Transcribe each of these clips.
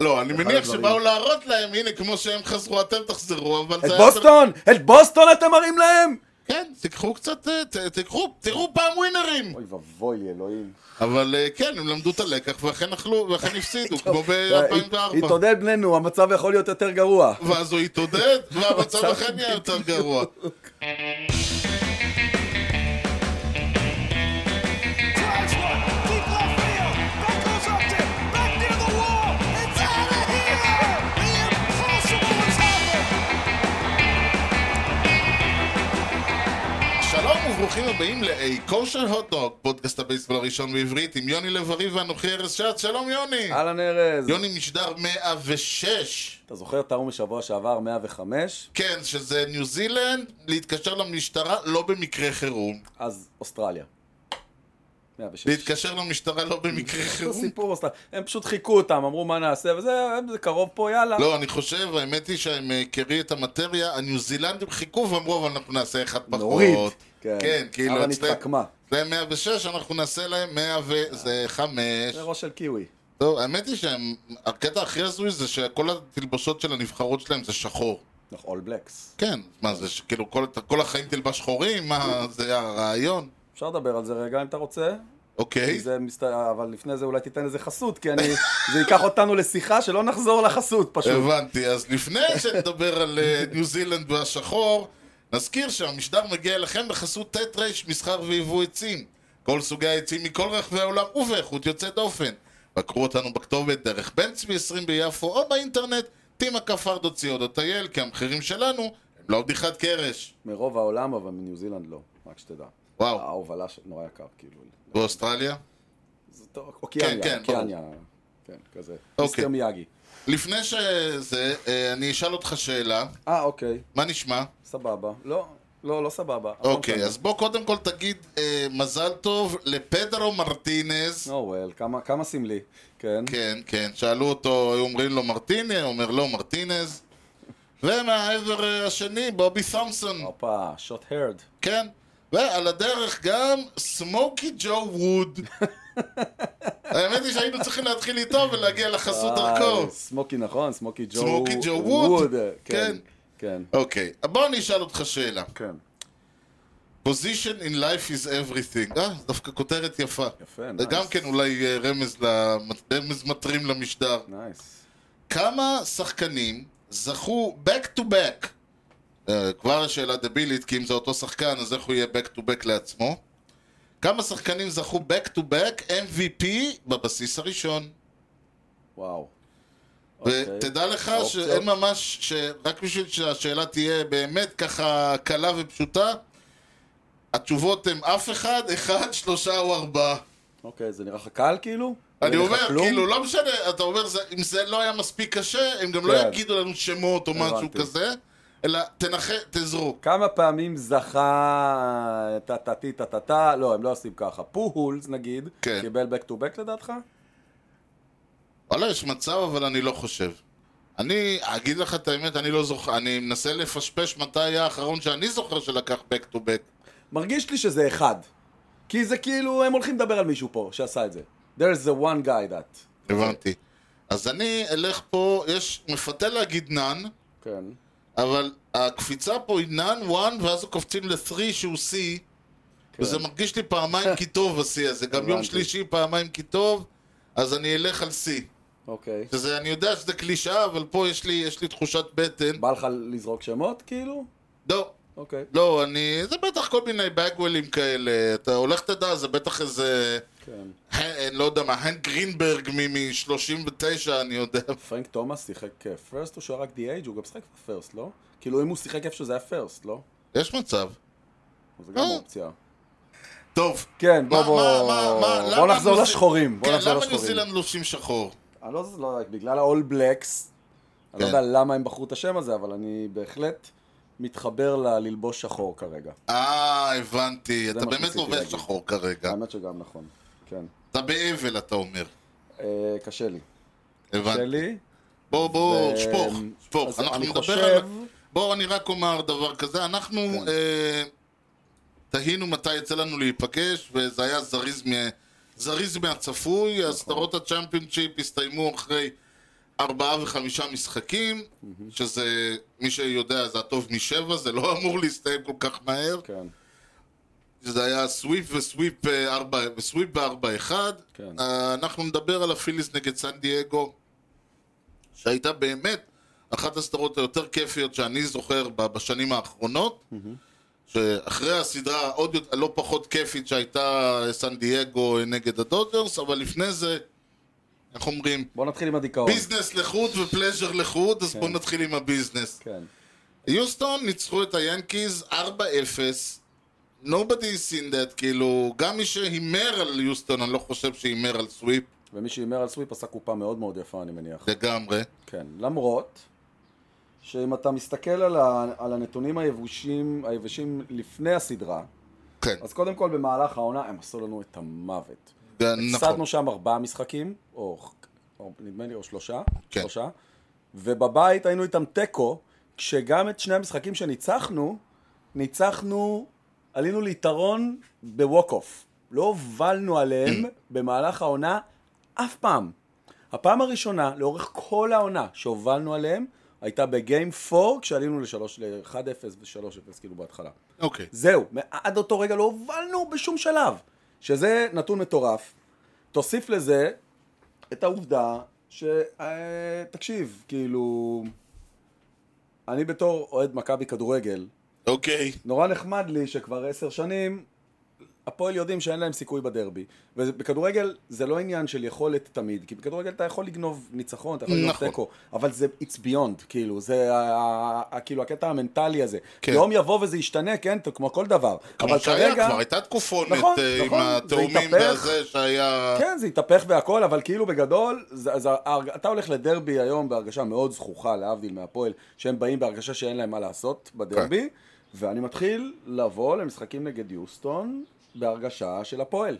לא, אני אחד מניח הדברים. שבאו להראות להם, הנה, כמו שהם חזרו, אתם תחזרו, אבל את זה היה- בוסטון? את בוסטון אתם מראים להם? כן, תיקחו קצת, אה, ת- תיקחו, תראו פעם ווינרים! אוי ואבוי, אלוהים. אבל אה, כן, הם למדו את הלקח, ואכן אכלו, ואכן הפסידו, אה, כמו ב-2004. התעודד בנינו, המצב יכול להיות יותר גרוע. ואז הוא התעודד, והמצב אכן נהיה יותר גרוע. Drives one, deep left field. That goes up to back near the wall. It's out of here. The impossible has happened. שלום וברוכים הבאים ל-A Kosher Hot Dog, פודקאסט הבייסבול הראשון בעברית, עם יוני לב-ארי ואנוכי ארז שץ, שלום יוני! אהלן ארז. אה. יוני משדר 106. אתה זוכר את ההוא משבוע שעבר, 105? כן, שזה ניו זילנד, להתקשר למשטרה לא במקרה חירום. אז אוסטרליה. 106. להתקשר למשטרה לא במקרה זה חירום. סיפור אוסטרליה. הם פשוט חיכו אותם, אמרו מה נעשה, וזה זה קרוב פה, יאללה. לא, אני חושב, האמת היא שהם אה, קרי את המטריה, הניו זילנדים חיכו ואמרו, אבל אנחנו נעשה אחד פחות. נוריד. כן, כאילו, אבל אצלם- נתחכמה. אצלם 106, אנחנו נעשה להם 105. זה ראש של קיווי. טוב, האמת היא שהם, הקטע הכי הזוי זה שכל התלבשות של הנבחרות שלהם זה שחור. נכון, אול בלקס. כן, מה זה, שכאילו כל, כל החיים תלבש שחורים? מה, זה הרעיון? אפשר לדבר על זה רגע אם אתה רוצה, אוקיי. כי זה מסת... אבל לפני זה אולי תיתן איזה חסות, כי אני... זה ייקח אותנו לשיחה שלא נחזור לחסות פשוט. הבנתי, אז לפני שנדבר על אה, ניו זילנד והשחור, נזכיר שהמשדר מגיע אליכם בחסות ט' ר' מסחר ויבוא עצים. כל סוגי העצים מכל רחבי העולם ובאיכות יוצאת דופן. בקרו אותנו בכתובת דרך בן צבי 20 ביפו או באינטרנט, טימה כפרדו ציודו טייל, כי המחירים שלנו הם לא בדיחת קרש. מרוב העולם, אבל מניו זילנד לא, רק שתדע. וואו, ההובלה של... נורא יקר, כאילו. באוסטרליה? זה טוב, כן, אוקיאניה, כן, אוקיאניה. כן, כזה. אוקיי. מיסטר מיאגי. לפני שזה, אה, אני אשאל אותך שאלה. אה, אוקיי, מה נשמע? סבבה. לא, לא, לא סבבה. אוקיי, אז בוא קודם כל תגיד אה, מזל טוב לפדרו מרטינז. נוואל, Oh כמה סמלי, כן. כן, כן, שאלו אותו, היו אומרים לו מרטיני, הוא אומר לא, מרטינז. ומהעבר אה, השני, בובי תומסון, הופה, שוט הרד. כן. ועל הדרך גם סמוקי ג'ו ווד. האמת היא שהיינו צריכים להתחיל איתו ולהגיע לחסות דרכו. אה, סמוקי נכון, סמוקי ג'ו... סמוקי ג'ו ווד. כן, כן. כן. אוקיי, בוא אני אשאל אותך שאלה. כן. Position in life is everything. אה, זו דווקא כותרת יפה. יפה, זה גם כן אולי אה, רמז ל- רמז מטרים למשדר. נייס. כמה שחקנים זכו back to back אה, כבר השאלה דבילית, כי אם זה אותו שחקן אז איך הוא יהיה back to back לעצמו כמה שחקנים זכו back to back MVP בבסיס הראשון וואו. אוקיי. ותדע לך האופציות? שאין ממש, שרק בשביל שהשאלה תהיה באמת ככה קלה ופשוטה התשובות הן אף אחד, אחד, שלושה או ארבעה אוקיי, זה נראה לך קל כאילו? אני נראה לך אומר, כלום? כאילו, לא משנה, אתה אומר, זה- אם זה לא היה מספיק קשה, הם גם לא כן. יגידו לנו שמות או משהו הבנתי. כזה, אלא תנחש, תזרוק. כמה פעמים זכה טה טה טי טה טה טה, לא, הם לא עושים ככה. פוהולס נגיד, כן. קיבל back to back לדעתך? וואלה, יש מצב, אבל אני לא חושב. אני אגיד לך את האמת, אני לא זוכר, אני מנסה לפשפש מתי היה האחרון שאני זוכר שלקח back to back. מרגיש לי שזה אחד. כי זה כאילו, הם הולכים לדבר על מישהו פה שעשה את זה. There's the one guy that. הבנתי. אז אני אלך פה, יש, מפתה להגיד נאן, כן. אבל הקפיצה פה היא נאן, וואן, ואז קופצים ל-3 שהוא שיא. כן. וזה מרגיש לי פעמיים כי טוב השיא הזה, גם יום הבנתי. שלישי פעמיים כי טוב, אז אני אלך על שיא. אוקיי. שזה, אני יודע שזה קלישאה, אבל פה יש לי, יש לי תחושת בטן. בא לך לזרוק שמות כאילו? לא, אוקיי. לא, אני... זה בטח כל מיני בגוולים כאלה, אתה הולך תדע, זה בטח איזה... כן. הן- לא יודע מה, הנק גרינברג מ-39, אני יודע. פרנק תומאס שיחק פרסט או שהוא היה רק DH? הוא גם שיחק פרסט, לא? כאילו אם הוא שיחק איפה שזה היה פרסט, לא? יש מצב. זה גם אה. אופציה. טוב. כן, בוא מה- מה- בוא. מה- מה- בוא למה נחזור ניו- לשחורים. בוא כן, נחזור למה ניו לשחורים. זילנד לובשים שחור? אני לא, לא בגלל ה-all blacks, אני לא כן. יודע למה הם בחרו את השם הזה, אבל אני בהחלט מתחבר ל- ללבוש שחור כרגע. אה, הבנתי. זה אתה מה באמת שרציתי לובש להגיד. שחור כרגע. האמת שגם נכון, כן. אתה באבל, אתה אומר. אה, קשה לי. קשה הבנתי. לי. בוא, בוא, ו- שפוך, שפוך. אז אנחנו אני נדבר חושב, על... בואו, אני רק אומר דבר כזה. אנחנו כן. אה, תהינו מתי יצא לנו להיפגש, וזה היה נכון. זריז, מ... זריז מהצפוי. הסדרות הצ'מפיונצ'יפ הסתיימו אחרי ארבעה וחמישה משחקים, שזה, מי שיודע, זה הטוב משבע, זה לא אמור להסתיים כל כך מהר. כן. זה היה סוויפ וסוויפ אה, ארבע, וסוויפ בארבע אחד. כן. אה, אנחנו נדבר על הפיליס נגד סן דייגו, שהייתה באמת אחת הסדרות היותר כיפיות שאני זוכר ב- בשנים האחרונות. שאחרי הסדרה עוד יותר- לא פחות כיפית שהייתה אה, סן דייגו נגד הדודג'רס, אבל לפני זה, איך אומרים? בוא נתחיל עם הדיכאון. ביזנס לחוד ופלז'ר לחוד, אז בואו נתחיל עם הביזנס. כן. יוסטון ניצחו את היאנקיז 4-0 nobody seen that, כאילו, גם מי שהימר על יוסטון, אני לא חושב שהימר על סוויפ ומי שהימר על סוויפ עשה קופה מאוד מאוד יפה, אני מניח. לגמרי. כן. למרות שאם אתה מסתכל על, ה... על הנתונים היבשים, היבשים לפני הסדרה, כן, אז קודם כל במהלך העונה הם עשו לנו את המוות. זה נכון. הפסדנו שם ארבעה משחקים, או, או נדמה לי, או שלושה, כן. שלושה, ובבית היינו איתם תיקו, כשגם את שני המשחקים שניצחנו, ניצחנו, עלינו ליתרון בווק אוף. לא הובלנו עליהם Mm. במהלך העונה אף פעם. הפעם הראשונה, לאורך כל העונה שהובלנו עליהם, הייתה בגיים 4, כשעלינו לשלוש- ל-1-0 ו-3-0, כאילו בהתחלה. אוקיי. זהו, עד אותו רגע לא הובלנו בשום שלב, שזה נתון מטורף. תוסיף לזה את העובדה ש... אה, תקשיב, כאילו... אני בתור אוהד מכבי כדורגל, אוקיי. נורא נחמד לי שכבר עשר שנים הפועל יודעים שאין להם סיכוי בדרבי. ובכדורגל זה לא עניין של יכולת תמיד, כי בכדורגל אתה יכול לגנוב ניצחון, אתה יכול לגנוב נכון. תיקו, אבל זה it's beyond, כאילו, זה ה- ה- ה- כאילו הקטע המנטלי הזה. כן. יום יבוא וזה ישתנה, כן, כמו כל דבר. אבל כמו שהיה כרגע- כבר, הייתה תקופונת נכון, אה, עם נכון, זה התאומים התהפך. והזה שהיה... כן, זה התהפך והכל, אבל כאילו בגדול, זה, זה, ההרג- אתה הולך לדרבי היום בהרגשה מאוד זכוכה, להבדיל מהפועל, שהם באים בהרגשה שאין להם מה לעשות בדרבי, כן. ואני מתחיל לבוא למשחקים נגד יוסטון בהרגשה של הפועל.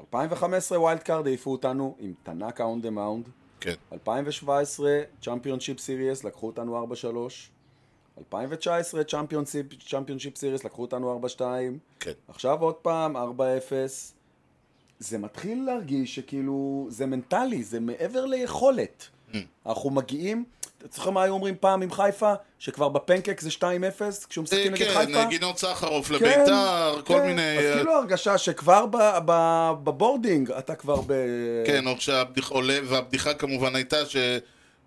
2015 ווילד קארד העיפו אותנו עם תנאקה און דה מאונד, כן. 2017 צ'מפיונשיפ סיריוס לקחו אותנו 4-3, 2019 צ'מפיונשיפ סיריוס לקחו אותנו 4-2, כן. עכשיו עוד פעם, 4-0. זה מתחיל להרגיש שכאילו, זה מנטלי, זה מעבר ליכולת. Mm. אנחנו מגיעים, אתה זוכר מה היו אומרים פעם עם חיפה? שכבר בפנקק זה 2-0, כשהוא משחק אה, נגד חיפה? כן, גדעון סחרוף לביתר, כל מיני... אז אה, כאילו הרגשה שכבר ב, ב, בבורדינג אתה כבר ב... כן, או כשהבדיחה עולה, והבדיחה כמובן הייתה ש...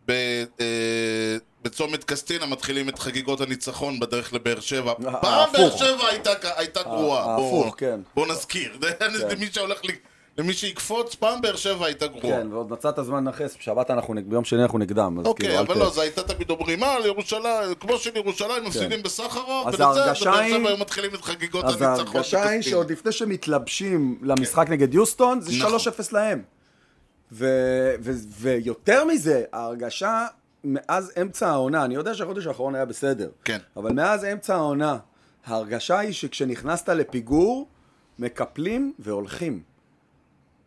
ב- אה, בצומת קסטינה מתחילים את חגיגות הניצחון בדרך לבאר שבע. אה, פעם באר ההפוך. אה, שבע הייתה כ- הייתה גרועה. ההפוך, בוא- כן. בוא נזכיר. למי שהולך ל- למי שיקפוץ, פעם באר שבע הייתה גרועה. כן, ועוד מצאת זמן לנכס, בשבת אנחנו, נג- ביום שני אנחנו נגדם, אז כאילו, אוקיי, אל אבל ת- כן. לא, זה הייתה תמיד אומרים, מה, לירושלים, כמו שלירושלים מפסידים בסחרוב, אז ולזה, ובאר ההרגשה היא- שבע היום מתחילים את חגיגות אז הניצחון. ההרגשה היא בקסטינה. שעוד לפני שמתלבשים למשחק נגד יוסטון, זה כן. נכון. 3-0 להם. ו- ו- ויותר מזה, ההרגשה מאז אמצע העונה, אני יודע שהחודש האחרון היה בסדר, כן. אבל מאז אמצע העונה, ההרגשה היא שכשנכנסת לפיגור, מקפלים והולכים.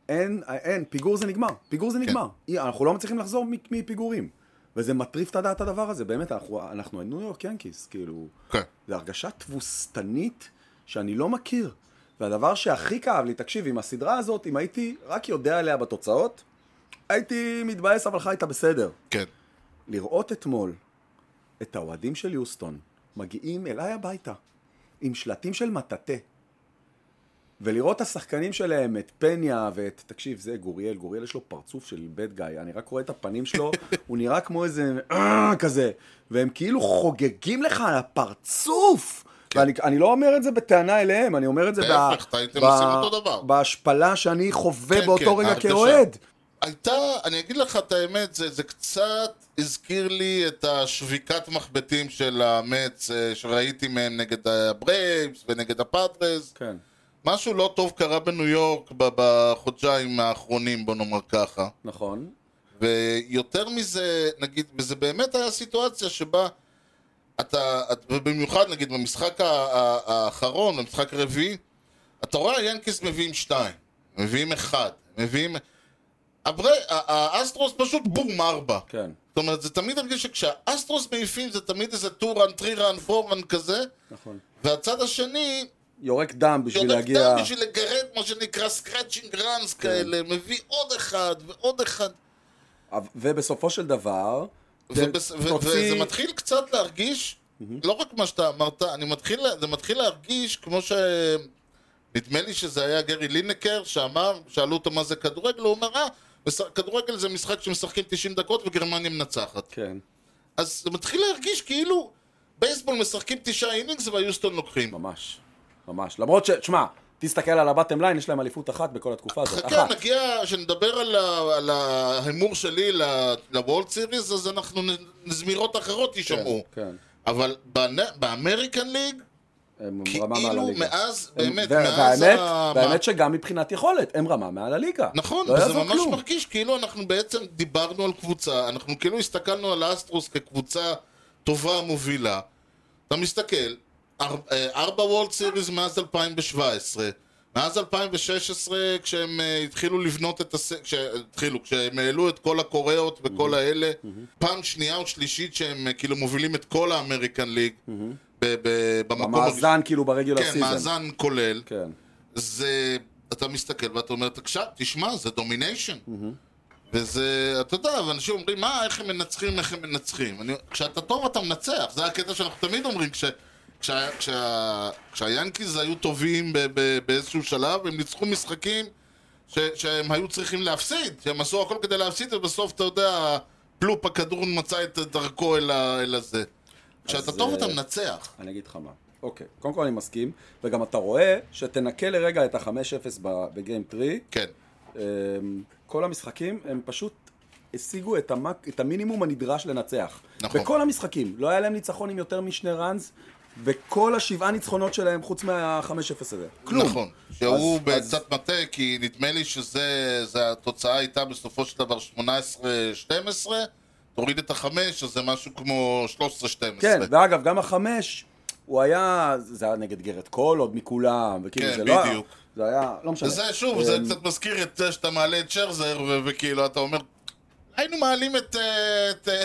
אין, אין, פיגור זה נגמר, פיגור כן. זה נגמר. אי- אנחנו לא מצליחים לחזור מ- מפיגורים. וזה מטריף את הדעת הדבר הזה, באמת, אנחנו, אנחנו ניו יורק ינקיס, כאילו... כן. זו הרגשה תבוסתנית שאני לא מכיר. והדבר שהכי כאב לי, תקשיב, עם הסדרה הזאת, אם הייתי רק יודע עליה בתוצאות, הייתי מתבאס, אבל חי איתה בסדר. כן. לראות אתמול את האוהדים של יוסטון מגיעים אליי הביתה עם שלטים של מטאטה. ולראות את השחקנים שלהם, את פניה ואת, תקשיב, זה גוריאל, גוריאל יש לו פרצוף של בד גיא, אני רק רואה את הפנים שלו, הוא נראה כמו איזה "אה", כזה, והם כאילו חוגגים לך על הפרצוף! ואני אני לא אומר את זה בטענה אליהם, אני אומר את זה ב- להפך, כן. אתה הייתם עושים אותו דבר. בהשפלה שאני חווה כן, באותו כן, רגע ההרגשה. כאוהד. הייתה, אני אגיד לך את האמת, זה, זה קצת הזכיר לי את השביקת מחבטים של המץ אה, שראיתי מהם נגד הברייבס ונגד הפאטרס. כן. משהו לא טוב קרה בניו יורק ב- בחודשיים האחרונים, בוא נאמר ככה. נכון. ויותר מזה, נגיד, וזה באמת היה סיטואציה שבה אתה, את- ובמיוחד נגיד במשחק ה- ה- האחרון, במשחק הרביעי, אתה רואה היאנקיס מביאים שתיים, מביאים אחד, מביאים... הברי, ה- האסטרוס פשוט בום ארבע. כן. זאת אומרת, זה תמיד הרגיש שכשהאסטרוס מעיפים זה תמיד איזה טורן, טרירן, פורן כזה, נכון. והצד השני יורק דם בשביל יורק להגיע... כן. דם בשביל לגרד מה שנקרא סקרצ'ינג ראנס כאלה, מביא עוד אחד ועוד אחד. ובסופו של דבר, ובס- ו- וזה מתחיל קצת להרגיש, לא רק מה שאתה אמרת, אני מתחיל, לה- זה מתחיל להרגיש כמו ש... נדמה לי שזה היה גרי לינקר שאמר, שאלו אותו מה זה כדורגל, הוא אומר, אה, מש- כדורגל זה משחק שמשחקים 90 דקות וגרמניה מנצחת. כן, אז זה מתחיל להרגיש כאילו בייסבול משחקים תשעה אינינגס והיוסטון לוקחים. ממש, ממש. למרות ש... שמע, תסתכל על הבטם ליין, יש להם אליפות אחת בכל התקופה הזאת. חכה, אחת. נגיע, כשנדבר על ה- על ההימור שלי ל- לוולד סיריס, אז אנחנו נ- זמירות אחרות יישמעו. כן. אבל בנ- באמריקן ליג, הם רמה מעל כאילו הליגה. מאז, הם- באמת, וה- מאז והאמת, ה- והאמת שגם מבחינת יכולת, הם רמה מעל הליגה. נכון, לא וזה יעזור ממש כלום. מרגיש כאילו אנחנו בעצם דיברנו על קבוצה, אנחנו כאילו הסתכלנו על האסטרוס כקבוצה טובה מובילה. אתה מסתכל, אר- אה, ארבע וולד סיריס מאז 2017, מאז 2016 כשהם אה, התחילו לבנות את הס... כשהתחילו, כשהם העלו את כל הקוריאות וכל האלה, פעם שנייה או שלישית שהם אה, כאילו מובילים את כל האמריקן ליג ב- ב- במקום הראשון. במאזן כאילו ברגולר לא כן, סיזן. מאזן כולל. כן. זה זה, אתה מסתכל ואתה אומר, תקשיב, תשמע, זה דומיניישן. Mm-hmm. וזה, אתה יודע, ואנשים אומרים, מה, איך הם מנצחים, איך הם מנצחים. אני, כשאתה טוב אתה מנצח, זה הקטע שאנחנו תמיד אומרים, כש, כשה, כשה, כשהיאנקיז היו טובים ב, ב, באיזשהו שלב, הם ניצחו משחקים ש, שהם היו צריכים להפסיד, שהם עשו הכל כדי להפסיד, ובסוף, אתה יודע, פלופ הכדור מצא את דרכו אל, ה, אל הזה. כשאתה אז, טוב אה, אתה מנצח. אני אגיד לך מה. אוקיי, קודם כל אני מסכים, וגם אתה רואה שתנקה לרגע את ה-5-0 ב- בגיים 3, כן. אמ, כל המשחקים הם פשוט השיגו את, המק, את המינימום הנדרש לנצח. נכון. בכל המשחקים, לא היה להם ניצחון עם יותר משני ראנס, בכל השבעה ניצחונות שלהם חוץ מה-5-0 הזה. כלום. נכון, שהוא אז- בקצת מטעה, כי נדמה לי שזה, זה התוצאה הייתה בסופו של דבר 18-12, תוריד את החמש, אז זה משהו כמו 13-12. כן, ואגב, גם החמש, הוא היה, זה היה נגד גרד קול עוד מכולם, וכאילו כן, זה לא היה, בדיוק. זה היה, לא משנה. זה שוב, זה אמ, קצת מזכיר את זה שאתה מעלה את שרזר, ו- וכאילו אתה אומר, היינו מעלים את... אה, את, אה,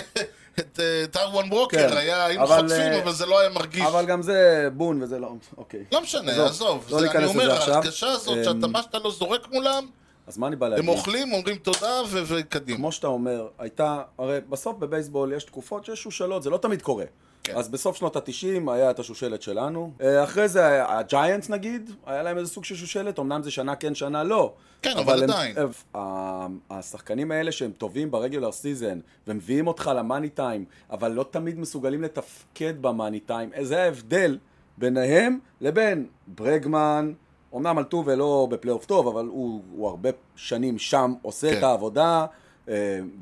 את אה, טרואן כן, ברוקר, היה- היינו אבל, חוטפים, אה, אבל זה לא היה מרגיש. אבל גם זה בון וזה לא, אוקיי. לא משנה, עזוב, עזוב, לא זה- אני ניכנס אומר, לזה עכשיו. ההרגשה הזאת, שאתה אמ, מה שאתה לא זורק מולם, אז מה אני בא הם להגיד? אוכלים, אומרים תודה ו- וקדימה. כמו שאתה אומר, הייתה, הרי בסוף בבייסבול יש תקופות שיש שושלות, זה לא תמיד קורה. כן. אז בסוף שנות התשעים היה את השושלת שלנו. אה, אחרי זה הג'יינטס נגיד, היה להם איזה סוג של שושלת, אמנם זה שנה כן, שנה לא. כן, אבל הם- עדיין. הם- ה- אה, השחקנים האלה שהם טובים ברגולר סיזן, ומביאים אותך למאני טיים, אבל לא תמיד מסוגלים לתפקד במאני טיים, אה, זה ההבדל ביניהם לבין ברגמן, אמנם אלטובה לא בפלייאוף טוב, אבל הוא, הוא הרבה שנים שם עושה כן. כן. את העבודה, אה,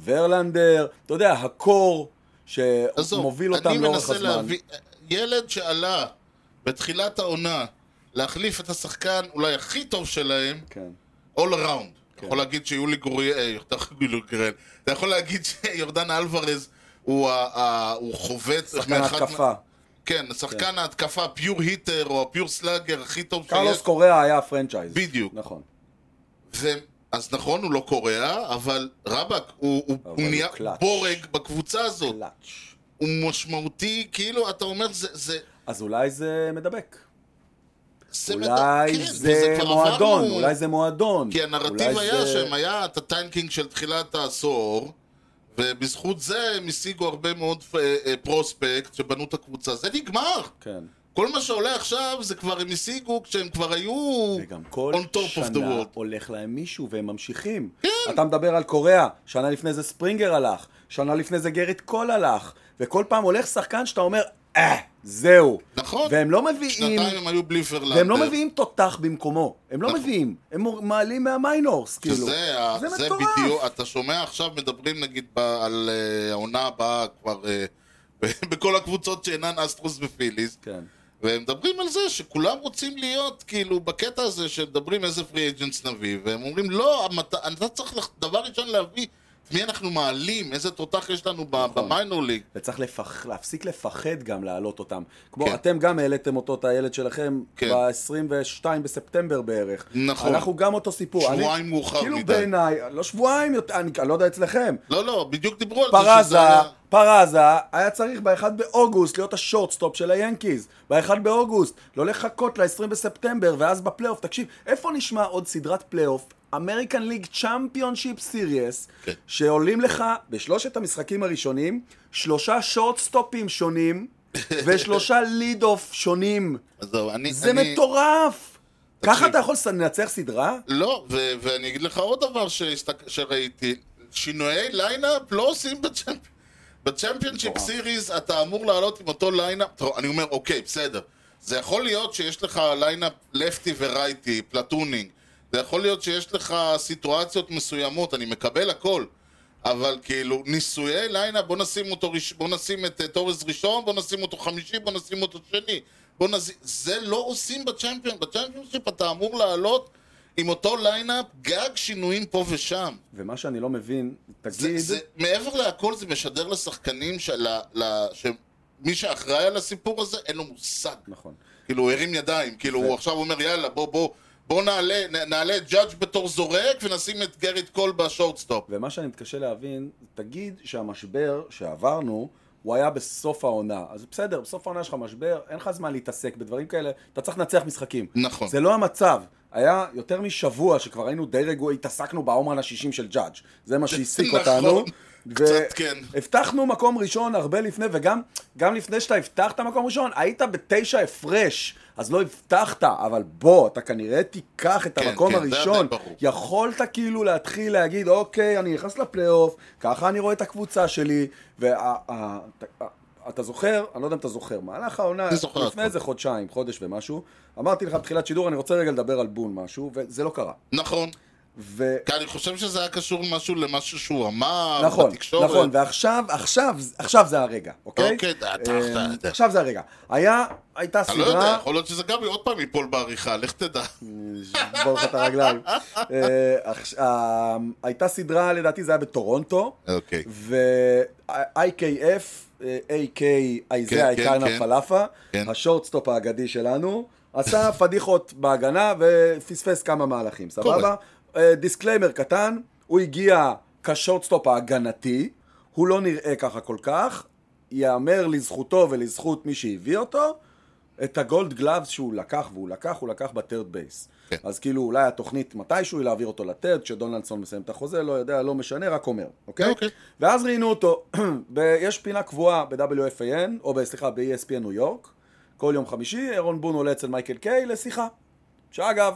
ורלנדר, אתה יודע, הקור עזוב, שמוביל אותם לאורך הזמן. להביא- ילד שעלה בתחילת העונה להחליף את השחקן אולי הכי טוב שלהם, כן. all around. אתה יכול להגיד שיולי גוריאל, אה, אתה יכול להגיד גוריאל, אתה יכול להגיד שיורדן אלוורז הוא ה- ה- הוא חובץ. שחקן מאחד התקפה. מה- כן, שחקן ההתקפה, הפיור היטר או הפיור סלאגר הכי טוב קרלוס קוריאה היה הפרנצ'ייז. בדיוק. נכון. ו- אז נכון, הוא לא קורע, אבל רבאק, הוא- הוא אבל הוא הוא נהיה קלאץ'. בורג בקבוצה הזאת. קלאץ'. הוא משמעותי, כאילו, אתה אומר, זה- זה... אז אולי זה מדבק. זה אולי מד- כן, וזה זה כבר מועדון, עברנו. אולי זה מועדון. כי הנרטיב אולי היה זה- שהם היה את הטנקינג של תחילת העשור, ובזכות זה הם השיגו הרבה מאוד אה, אה, פרוספקט שבנו את הקבוצה. זה נגמר! כן. כל מה שעולה עכשיו זה כבר הם השיגו כשהם כבר היו... וגם כל on top of the שנה world. הולך להם מישהו והם ממשיכים. כן. אתה מדבר על קוריאה, שנה לפני זה ספרינגר הלך, שנה לפני זה גריט קול הלך, וכל פעם הולך שחקן שאתה אומר, אה, זהו. נכון. והם לא מביאים... שנתיים הם היו בלי פרלנדר. והם לא מביאים תותח במקומו, הם לא נכון. מביאים, הם מור- מעלים מהמיינורס, כאילו. שזה, ה- זה זה מטורף. בדיוק, אתה שומע עכשיו מדברים נגיד ב- על אה, העונה הבאה כבר אה, בכל הקבוצות שאינן אסטרוס ופיליס. כן. והם מדברים על זה שכולם רוצים להיות, כאילו, בקטע הזה שמדברים איזה פרי אג'נס נביא, והם אומרים, לא, המת... אתה צריך לח- דבר ראשון להביא את מי אנחנו מעלים, איזה תותח יש לנו נכון. ב- במיינור ליג. וצריך לפח... להפסיק לפחד גם להעלות אותם. כמו, כן. כן. אתם גם העליתם אותו, את הילד שלכם, כן. כן. ב-22 בספטמבר בערך. נכון. אנחנו גם אותו סיפור. שבועיים אני, מאוחר כאילו מדי. בעיניי, לא שבועיים, יותר, אני, אני לא יודע אצלכם. לא, לא, בדיוק דיברו על זה פרזה, שזה היה- פרזה היה צריך ב-1 באוגוסט להיות השורטסטופ של היאנקיז. ב-1 באוגוסט, לא לחכות ל-20 בספטמבר, ואז בפלייאוף. תקשיב, איפה נשמע עוד סדרת פלייאוף? אמריקן ליג צ'מפיונשיפ סיריאס, כן. שעולים לך בשלושת המשחקים הראשונים, שלושה שורטסטופים שונים, ושלושה ליד אוף שונים. אז זהו, אני... זה אני... מטורף! תקשיב. ככה אתה יכול לס- לנצח סדרה? לא, ו- ואני אגיד לך עוד דבר שהסתק- שראיתי, שינויי ליינאפ לא עושים בצ'מפ... בצ'מפיונשיפ סיריס, אתה אמור לעלות עם אותו ליינאפ, טוב, אני אומר, אוקיי, בסדר. זה יכול להיות שיש לך ליינאפ לפטי ורייטי, פלטונינג. זה יכול להיות שיש לך סיטואציות מסוימות, אני מקבל הכל. אבל כאילו, ניסויי ליינאפ, בוא נשים אותו, ראש- בוא נשים את אה, תורס ראשון, בוא נשים אותו חמישי, בוא נשים אותו שני. בוא נז... זה לא עושים בצ'מפיון. בצ'מפיונשיפ אתה אמור לעלות עם אותו ליינאפ, גג שינויים פה ושם. ומה שאני לא מבין, זה, תגיד... זה, מעבר להכל זה משדר לשחקנים של ה... ל- שמי שאחראי על הסיפור הזה, אין לו מושג. נכון. כאילו, הוא הרים ידיים. כאילו, הוא עכשיו אומר, יאללה, בוא, בוא, בוא נעלה, נ- נעלה את ג'אדג' בתור זורק ונשים את גריט קול בשורטסטופ. ומה שאני מתקשה להבין, תגיד שהמשבר שעברנו, הוא היה בסוף העונה. אז בסדר, בסוף העונה יש לך משבר, אין לך זמן להתעסק בדברים כאלה, אתה צריך לנצח משחקים. נכון. זה לא המצב. היה יותר משבוע שכבר היינו די רגועים, התעסקנו בעומרן השישים של ג'אדג'. זה מה שהעסיק נכון. אותנו. קצת כן. הבטחנו מקום ראשון הרבה לפני, וגם גם לפני שאתה הבטחת מקום ראשון, היית בתשע הפרש, אז לא הבטחת, אבל בוא, אתה כנראה תיקח את כן, המקום כן, זה היה הראשון. די ברור. יכולת כאילו להתחיל להגיד, אוקיי, אני נכנס לפלייאוף, ככה אני רואה את הקבוצה שלי, ואתה זוכר, אני לא יודע אם אתה זוכר, מהלך העונה, אני זוכר לפני הכל. איזה חודשיים, חודש ומשהו, אמרתי לך בתחילת שידור, אני רוצה רגע לדבר על בון משהו, וזה לא קרה. נכון. ו... כי אני חושב שזה היה קשור משהו למשהו שהוא אמר נכון, אה, בתקשורת. נכון, ועכשיו, עכשיו, עכשיו זה הרגע, אוקיי? אוקיי, אתה- אתה- אה, אתה יודע. עכשיו זה הרגע. היה, הייתה אני לא יודע, סדרה, יכול להיות שזה גם עוד פעם ייפול בעריכה, לך תדע. שבור לך את הרגליים. אה, עכש- אה, הייתה סדרה, לדעתי זה היה בטורונטו, אוקיי. ו-IKF, AK, כן, זה כן, אייכנה כן. פלאפה, כן. השורטסטופ האגדי שלנו, עשה פדיחות בהגנה ופספס כמה מהלכים, סבבה? קורה. אה, דיסקליימר קטן, הוא הגיע כשורטסטופ ההגנתי, הוא לא נראה ככה כל כך, ייאמר לזכותו ולזכות מי שהביא אותו, את הגולד גלאבס שהוא לקח, והוא לקח, הוא לקח בטרד בייס. כן. אז כאילו אולי התוכנית מתישהו היא להעביר אותו לטרד, כשדונלדסון מסיים את החוזה, לא יודע, לא משנה, רק אומר, אוקיי? אוקיי. ואז ראיינו אותו, ב- יש פינה קבועה ב-WFAN, או ב- סליחה, ב-ESPN ניו יורק, כל יום חמישי, אירון בון עולה אצל מייקל קיי לשיחה. שאגב,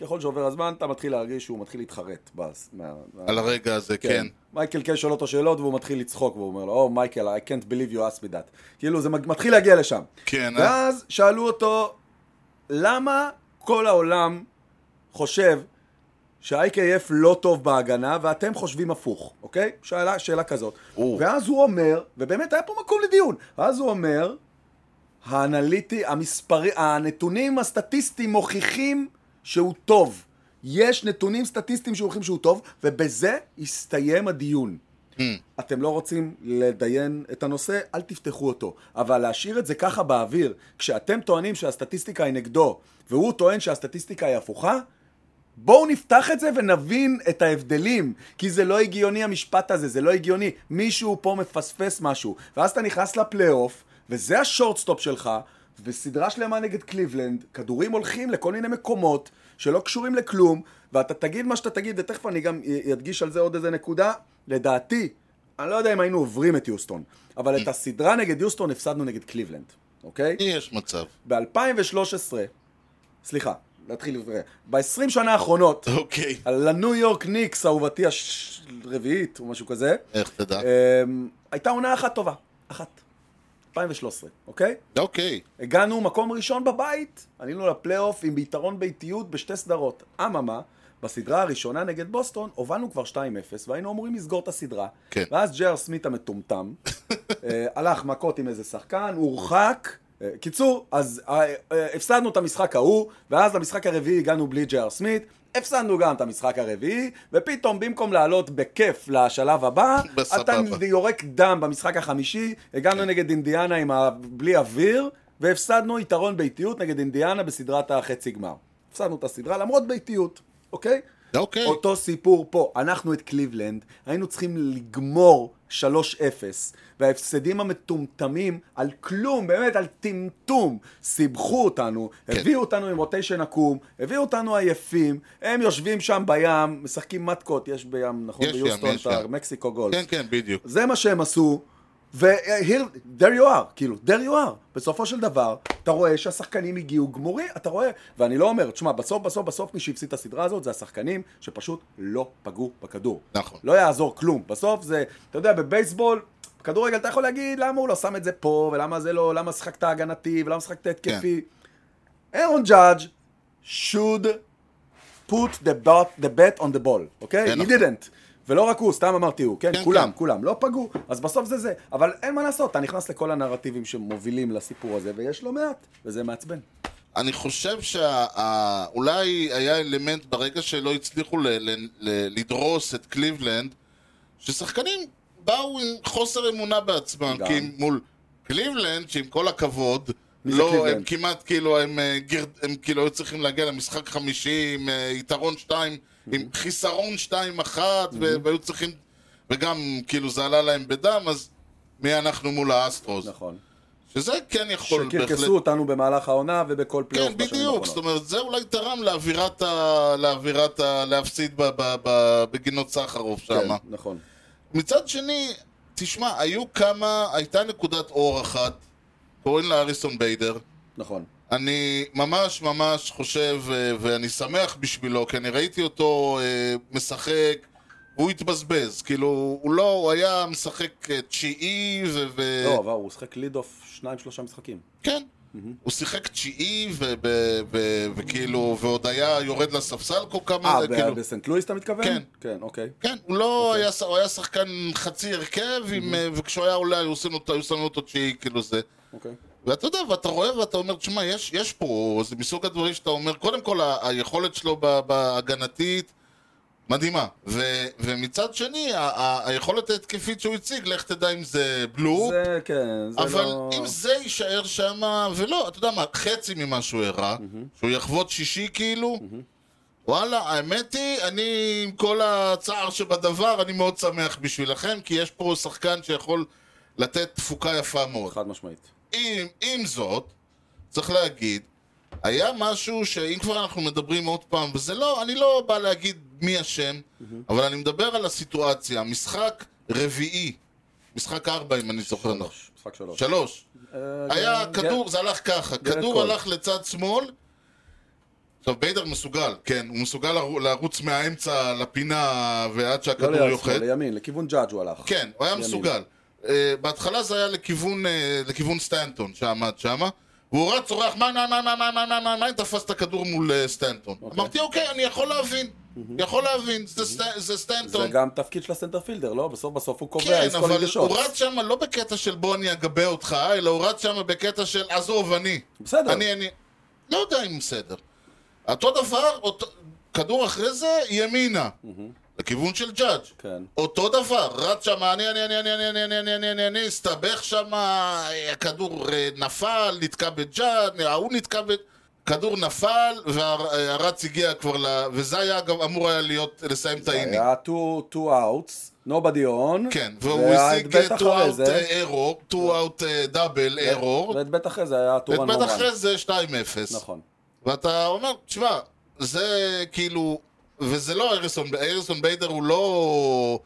ככל שעובר הזמן, אתה מתחיל להרגיש שהוא מתחיל להתחרט. בס, מה, מה, על הרגע הזה, כן. מייקל קיי שואל אותו שאלות והוא מתחיל לצחוק, והוא אומר לו, או מייקל, I can't believe you asked me that. כאילו, זה מג- מתחיל להגיע לשם. כן, אה? ואז שאלו אותו, למה כל העולם חושב שה-IKF לא טוב בהגנה ואתם חושבים הפוך, אוקיי? שאלה, שאלה כזאת. או. ואז הוא אומר, ובאמת היה פה מקום לדיון, ואז הוא אומר, האנליטי, המספרי, הנתונים הסטטיסטיים מוכיחים שהוא טוב. יש נתונים סטטיסטיים שמוכיחים שהוא טוב, ובזה הסתיים הדיון. אתם לא רוצים לדיין את הנושא, אל תפתחו אותו. אבל להשאיר את זה ככה באוויר, כשאתם טוענים שהסטטיסטיקה היא נגדו, והוא טוען שהסטטיסטיקה היא הפוכה, בואו נפתח את זה ונבין את ההבדלים, כי זה לא הגיוני המשפט הזה, זה לא הגיוני. מישהו פה מפספס משהו, ואז אתה נכנס לפלייאוף, וזה השורטסטופ שלך, וסדרה שלמה נגד קליבלנד, כדורים הולכים לכל מיני מקומות שלא קשורים לכלום, ואתה תגיד מה שאתה תגיד, ותכף אני גם א- אדגיש על זה עוד איזה נקודה, לדעתי, אני לא יודע אם היינו עוברים את יוסטון, אבל את הסדרה נגד יוסטון הפסדנו נגד קליבלנד, אוקיי? יש מצב. ב-2013, סליחה, להתחיל, ב-20 שנה האחרונות, אוקיי. לניו יורק ניקס, אהובתי הרביעית או משהו כזה, איך תדע? אמ, הייתה עונה אחת טובה, אחת. 2013, אוקיי? אוקיי. הגענו מקום ראשון בבית, עלינו לפלייאוף עם ביתרון ביתיות בשתי סדרות. אממה, בסדרה הראשונה נגד בוסטון, הובלנו כבר 2-0 והיינו אמורים לסגור את הסדרה. כן. ואז ג'ר סמית המטומטם, אה, הלך מכות עם איזה שחקן, הורחק. אה, קיצור, אז אה, אה, הפסדנו את המשחק ההוא, ואז למשחק הרביעי הגענו בלי ג'ר סמית. הפסדנו גם את המשחק הרביעי, ופתאום במקום לעלות בכיף לשלב הבא, בסבבה. אתה יורק דם במשחק החמישי, כן. הגענו נגד אינדיאנה עם ה... בלי אוויר, והפסדנו יתרון ביתיות נגד אינדיאנה בסדרת החצי גמר. הפסדנו את הסדרה למרות ביתיות, אוקיי? אוקיי. אותו סיפור פה, אנחנו את קליבלנד, היינו צריכים לגמור 2-0 3-0, וההפסדים המטומטמים על כלום, באמת, על טמטום, סיבכו אותנו, כן. הביאו אותנו עם רוטיישן עקום, הביאו אותנו עייפים, הם יושבים שם בים, משחקים מתקות, יש בים, נכון? יש ים, ביוסטון, יש את ים. מקסיקו גולד. כן, כן, בדיוק. זה מה שהם עשו, ו-here, there you are, כאילו, there you are. בסופו של דבר, אתה רואה שהשחקנים הגיעו גמורים, אתה רואה, ואני לא אומר, תשמע, בסוף, בסוף, בסוף מי שהפסיד את הסדרה הזאת זה השחקנים שפשוט לא פגעו בכדור. נכון. לא יעזור כלום. בסוף זה, אתה יודע, בבייסבול, בכדורגל אתה יכול להגיד למה הוא לא שם את זה פה, ולמה זה לא, למה שחקת הגנתי, ולמה שחקת התקפי. כן. אירון ג'אדג' should put the bet, the bet on the ball, אוקיי? כן, Okay? He נכון. didn't. ולא רק הוא, סתם אמרתי הוא, כן, כן, כולם, כן. כולם, לא פגעו, אז בסוף זה זה. אבל אין מה לעשות, אתה נכנס לכל הנרטיבים שמובילים לסיפור הזה, ויש לא מעט, וזה מעצבן. אני חושב שאולי היה אלמנט ברגע שלא הצליחו ל, ל, ל, לדרוס את קליבלנד, ששחקנים באו עם חוסר אמונה בעצמם, גם. כי הם מול קליבלנד, שעם כל הכבוד, מי זה לא, קליבלנד? הם כמעט כאילו, הם, אה, גרד, הם כאילו היו צריכים להגיע למשחק חמישי עם אה, יתרון שתיים, Mhm. עם חיסרון שתיים אחת, ו- והיו צריכים, וגם כאילו זה עלה להם בדם, אז מי אנחנו מול האסטרוס? נכון. שזה כן יכול בהחלט שקרקסו אותנו במהלך העונה ובכל פלייאוף. כן, בשנים בדיוק, האחרונות. זאת אומרת, זה אולי תרם לאווירת ה... לאווירת ה... להפסיד ב... ב... ב... בגינות סחרוף שם. כן, נכון. מצד שני, תשמע, היו כמה, הייתה נקודת אור אחת, קוראים לה אריסון ביידר. נכון. אני ממש ממש חושב, אה, ואני שמח בשבילו, כי אני ראיתי אותו אה, משחק, הוא התבזבז, כאילו, הוא לא, הוא היה משחק אה, תשיעי ו... ו... לא, אבל הוא שחק ליד אוף שניים, שלושה משחקים. כן. הוא שיחק תשיעי, ו- ו- ו- וכאילו, ועוד היה יורד לספסל כל כמה... אה, ב- כאילו- בסנט לואיס אתה מתכוון? כן. כן, אוקיי. כן, הוא לא היה, ש- הוא היה שחקן חצי הרכב, עם, אה, וכשהוא היה עולה, היו עושים אותו- היו שמים אותו תשיעי, כאילו זה. אוקיי. ואתה יודע, ואתה רואה ואתה אומר, תשמע, יש, יש פה, זה מסוג הדברים שאתה אומר, קודם כל, ה- היכולת שלו ב- בהגנתית מדהימה. ו- ומצד שני, ה- ה- היכולת ההתקפית שהוא הציג, לך תדע אם זה בלופ, זה, כן, זה אבל לא... אם זה יישאר שם, ולא, אתה יודע מה, חצי ממה שהוא הראה, שהוא יחבוט שישי כאילו, וואלה, האמת היא, אני עם כל הצער שבדבר, אני מאוד שמח בשבילכם, כי יש פה שחקן שיכול לתת תפוקה יפה מאוד. חד משמעית. עם, עם זאת, צריך להגיד, היה משהו שאם כבר אנחנו מדברים עוד פעם, וזה לא, אני לא בא להגיד מי אשם, אבל אני מדבר על הסיטואציה, משחק רביעי, משחק ארבע אם אני זוכר נכון. שלוש, משחק שלוש. שלוש. אה, היה גם- כדור, זה הלך ככה, גרד כדור קול. הלך לצד שמאל. עכשיו ביידר מסוגל, כן, הוא מסוגל לרו- לרוץ מהאמצע לפינה ועד לא שהכדור ליד יוחד. שמאל, לימין, לכיוון ג'אג' הוא הלך. כן, הוא היה ימין. מסוגל. אה, בהתחלה זה היה לכיוון, אה, לכיוון סטנטון שעמד שמה. והוא רץ, צורח, מה, מה, מה, מה, מה, מה, מה, מה, מה, תפס את הכדור מול אה, סטנטון. אמרתי, אוקיי, אני יכול להבין. יכול להבין, זה סט- זה זה סטנטון. גם תפקיד של הסנטרפילדר, לא? בסוף בסוף הוא קובע, כן, he's calling אבל the shots. הוא רץ שם לא בקטע של בוא אני אגבה אותך, אלא הוא רץ שם בקטע של עזוב, אני. בסדר. אני, אני... לא יודע אם בסדר. אותו דבר, אותו... כדור אחרי זה, ימינה. לכיוון של ג'אג'. כן. אותו דבר, רץ שם, אני, אני, אני, אני, אני, אני, אני, אני, אני, אני, אני, הסתבך שם, הכדור אה, נפל, נתקע בג'אג', ההוא נתקע ב... כדור נפל, והרץ הגיע כבר ל... וזה היה, אגב, אמור היה להיות, לסיים את האינינג. היה two, two outs, nobody on. כן, והוא השיג ואת בית uh, two אחרי out זה. uh, error, two out uh, double error, ואת בית אחרי זה היה two one ובית one. אחרי זה 2-0. נכון. ואתה אומר, תשמע, זה כאילו, וזה לא אריסון, אריסון ביידר הוא לא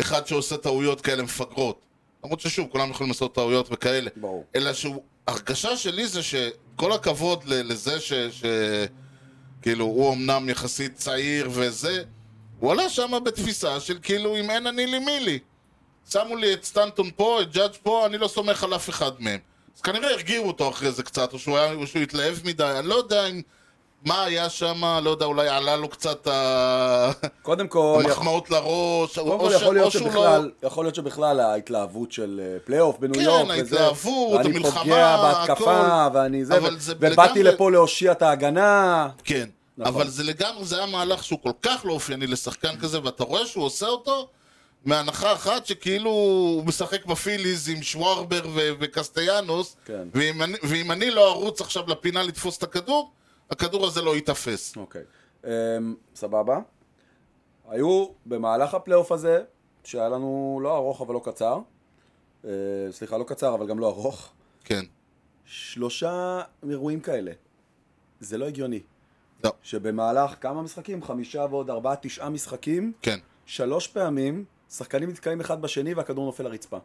אחד שעושה טעויות כאלה מפגרות. למרות ששוב, כולם יכולים לעשות טעויות וכאלה. ברור. אלא שהוא, הרגשה שלי זה שכל הכבוד ל- לזה ש... ש... כאילו, הוא אמנם יחסית צעיר וזה, הוא עלה שם בתפיסה של כאילו, אם אין אני לי מי לי. שמו לי את סטנטון פה, את ג'אדג' פה, אני לא סומך על אף אחד מהם. אז כנראה הרגיעו אותו אחרי זה קצת, או שהוא, היה, או שהוא התלהב מדי, אני לא יודע אם... מה היה שם, לא יודע, אולי עלה לו קצת ה- קודם כל, יכול- המחמאות לראש, או, או, קודם כל ש- יכול או להיות שהוא לא... שבכלל, יכול להיות שבכלל ההתלהבות של אה, פלייאוף בניו כן, יורק, ההתלהבות, וזה, ואני המלחמה, פוגע בהתקפה, הכל. ואני זה, אבל ו- זה ובאתי לגמרי- לפה להושיע את ההגנה, כן, נכון. אבל זה לגמרי, זה היה מהלך שהוא כל כך לא אופייני לשחקן כזה, ואתה רואה שהוא עושה אותו מהנחה אחת שכאילו הוא משחק בפיליז עם שווארבר ו- וקסטיאנוס, כן. ואם אני- ואם אני לא ארוץ עכשיו לפינה לתפוס את הכדור, הכדור הזה לא ייתפס. אוקיי. אמ, סבבה. היו במהלך הפלייאוף הזה שהיה לנו לא ארוך אבל לא קצר. אה, סליחה, לא קצר אבל גם לא ארוך. כן. שלושה אירועים כאלה. זה לא הגיוני. לא. שבמהלך כמה משחקים? חמישה ועוד ארבעה, תשעה משחקים, כן. שלוש פעמים, שחקנים נתקעים אחד בשני והכדור נופל לרצפה.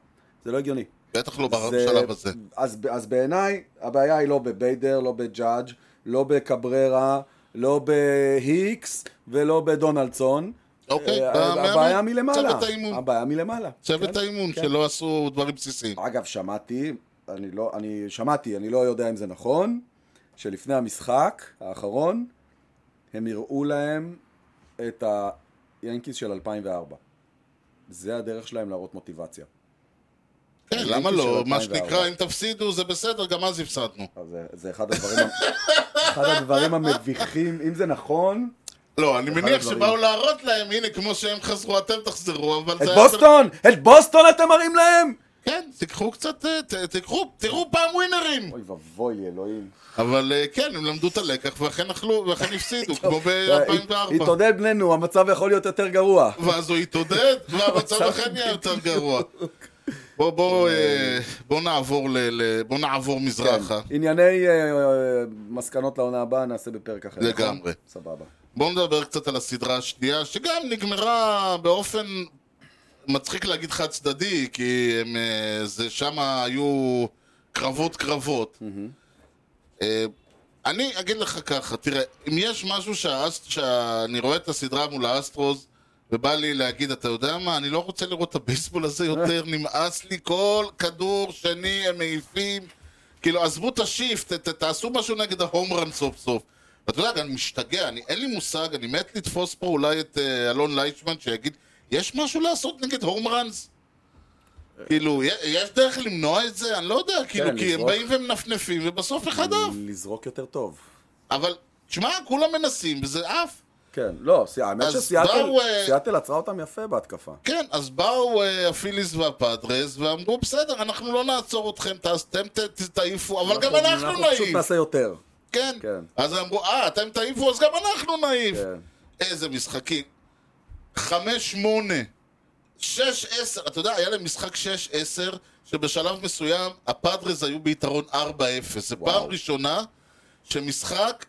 זה לא הגיוני. בטח לא בשלב הזה. אז, אז בעיניי, הבעיה היא לא בביידר, לא בג'אדג', לא בקבררה, לא בהיקס ולא בדונלדסון. אוקיי, אה, במאמן. הבעיה מלמעלה. צוות האימון. הבעיה מלמעלה. צוות כן, האימון כן. אה, שלא עשו דברים בסיסיים. אגב, שמעתי, אני לא, אני שמעתי, אני לא יודע אם זה נכון, שלפני המשחק האחרון, הם הראו להם את היאנקיס של 2004. זה הדרך שלהם להראות מוטיבציה. כן, היאנקיז למה לא? של מה 2004. שנקרא, אם תפסידו זה בסדר, גם אז הפסדנו. אבל זה, זה אחד הדברים, ה- אחד הדברים המביכים, אם זה נכון, לא, אני מניח הדברים. שבאו להראות להם, הנה, כמו שהם חזרו, אתם תחזרו, אבל את זה... היה- בוסטון! את בוסטון אתם מראים להם! כן, תיקחו קצת, אה, ת- תיקחו, תראו פעם ווינרים. אוי ואבוי לי, אלוהים. אבל אה, כן, הם למדו את הלקח, ואכן אכלו, ואכן הפסידו, כמו אה, הת- ב-2004. התעודד בנינו, המצב יכול להיות יותר גרוע. ואז הוא התעודד, והמצב אכן נהיה יותר גרוע. בוא, בוא, אה, בוא נעבור ל... ל- בוא נעבור מזרחה. ענייני אה, אה, מסקנות לעונה הבאה נעשה בפרק אחר. נכון? לגמרי. סבבה. בואו נדבר קצת על הסדרה השנייה, שגם נגמרה באופן מצחיק להגיד חד צדדי, כי הם, אה, זה שם היו קרבות קרבות. אה, אני אגיד לך ככה, תראה, אם יש משהו שהאס- שאני רואה את הסדרה מול האסטרוז, ובא לי להגיד, אתה יודע מה, אני לא רוצה לראות את הבייסבול הזה יותר, נמאס לי כל כדור שני הם מעיפים. כאילו, עזבו את השיפט, ת- תעשו משהו נגד ההומרן סוף סוף. ואתה יודע, אני משתגע, אני, אין לי מושג, אני מת לתפוס פה אולי את אה, אלון ליישמן שיגיד, יש משהו לעשות נגד הומרנס? כאילו, י- יש דרך למנוע את זה? אני לא יודע, כאילו, כי הם לזרוק. Mm. באים ומנפנפים, ובסוף אחד עף. לזרוק יותר טוב. אבל, תשמע, כולם מנסים, וזה עף. כן, לא, סי- האמת אז שסיאטל באו, אה, סיאטל עצרה אותם יפה בהתקפה. כן, אז באו אה, הפיליס והפאדרס ואמרו, בסדר, אנחנו לא נעצור אתכם, תעש- אתם ת- ת- תעיפו, אבל גם אנחנו אנחנו פשוט נעיף. נעשה יותר. כן. כן. אז הם אמרו, אה, אתם תעיפו, אז גם אנחנו נעיף. כן. איזה משחקים. חמש, שמונה. שש, עשר. אתה יודע, היה להם משחק שש, עשר, שבשלב מסוים הפאדרס היו ביתרון ארבע, אפס. זו פעם וואו. ראשונה שמשחק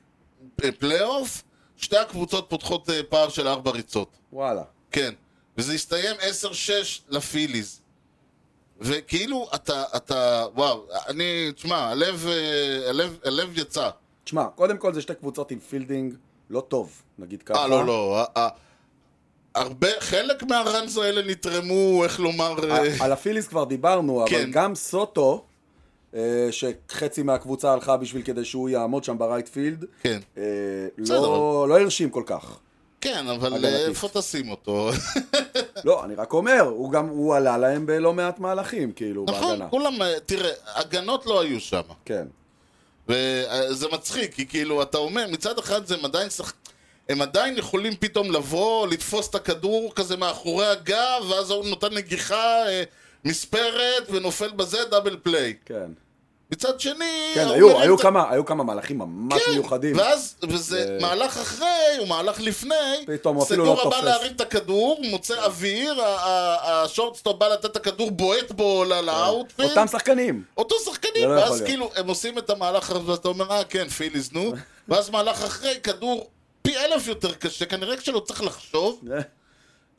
אה, פלייאוף, שתי הקבוצות פותחות אה, פער של ארבע ריצות. וואלה. כן. וזה הסתיים 10-6 לפיליז. וכאילו, אתה, אתה, וואו, אני, תשמע, הלב, אה, הלב, הלב יצא. תשמע, קודם כל זה שתי קבוצות עם פילדינג לא טוב, נגיד ככה. אה, לא, לא. אה, אה. הרבה, חלק מהראנז האלה נתרמו, איך לומר... אה, על הפיליס כבר דיברנו, כן. אבל גם סוטו, אה, שחצי מהקבוצה הלכה בשביל כדי שהוא יעמוד שם ברייט פילד, כן. אה, בסדר, לא לא הרשים כל כך. כן, אבל הגנתית. אה, איפה תשים אותו? לא, אני רק אומר, הוא גם, הוא עלה להם בלא מעט מהלכים, כאילו, בהגנה. נכון, כולם, אה, תראה, הגנות לא היו שם. כן. וזה מצחיק, כי כאילו, אתה אומר, מצד אחד זה הם עדיין שח... הם עדיין יכולים פתאום לבוא, לתפוס את הכדור כזה מאחורי הגב, ואז הוא נותן נגיחה אה, מספרת ונופל בזה דאבל פליי. כן, מצד שני... כן, אה, הוא היו, מרים היו את- כמה, היו כמה מהלכים ממש כן, מיוחדים. ואז, וזה אה, מהלך אחרי, הוא מהלך לפני, פתאום הוא אפילו לא סגורה בא תופס. כן. להרים את הכדור, מוצא אוויר, ה- ה- השורטסטופ בא לתת את הכדור, בועט בו ל- לאאוטפיל, כן. אותם שחקנים. אותו שחקנים, זה לא יכול ואז להיות. כאילו הם עושים את המהלך, הזה, ואתה אומר, אה כן, פיליז, נו, ואז מהלך אחרי, כדור פי אלף יותר קשה, כנראה כשלא צריך לחשוב, אה,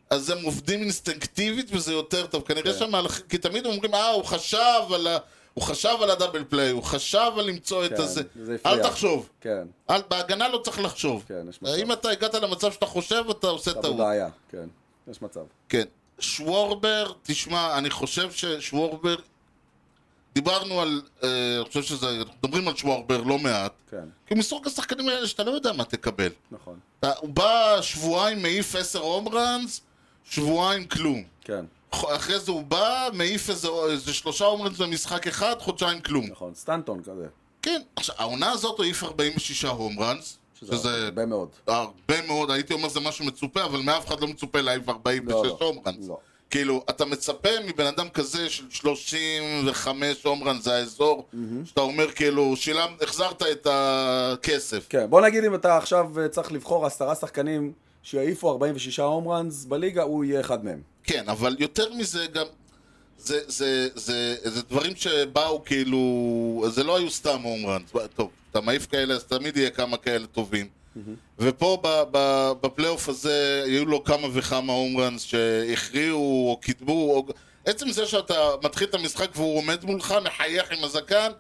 אז הם עובדים אינסטינקטיבית וזה יותר טוב. כנראה כן. שהמהלכים, כי תמיד אומרים, אה, הוא חשב על ה... הוא חשב על הדאבל פליי, הוא חשב על למצוא את כן, הזה. זה הפריע. אל תחשוב. כן, אל, בהגנה לא צריך לחשוב. כן, יש מצב. אם אתה הגעת למצב שאתה חושב, אתה עושה אתה טעות. בבעיה, כן. יש מצב. כן. שוורבר, תשמע, אני חושב ששוורבר... דיברנו על... אה, אני חושב שזה... מדברים על שוורבר לא מעט. כן, כי הוא מסוג השחקנים האלה שאתה לא יודע מה תקבל. נכון. אתה, הוא בא שבועיים, מעיף עשר הום ראנס, שבועיים כלום. כן, אחרי זה הוא בא, מעיף איזה, איזה שלושה הומרנס במשחק אחד, חודשיים כלום. נכון. סטנטון כזה. כן, עכשיו, העונה הזאת הוא העיף 46 הומרנס, שזה שזה הרבה מאוד. הרבה מאוד, הייתי אומר זה משהו מצופה, אבל מאף אחד לא מצופה להעיף 46 לא, לא. הומרנס. לא. כאילו, אתה מצפה מבן אדם כזה של 35 הומרנס, זה האזור, שאתה אומר כאילו, שילם, החזרת את הכסף. כן, בוא נגיד אם אתה עכשיו אה, צריך לבחור עשרה שחקנים שיעיפו 46 הום ראנס בליגה, הוא יהיה אחד מהם. כן, אבל יותר מזה גם... זה, זה, זה, זה, זה דברים שבאו כאילו, זה לא היו סתם הומרן, טוב, אתה מעיף כאלה, אז תמיד יהיה כמה כאלה טובים. ופה ב, ב, בפלייאוף הזה היו לו כמה וכמה הומרנס שהכריעו או קידמו, או... עצם זה שאתה מתחיל את המשחק והוא עומד מולך, מחייך עם הזקן,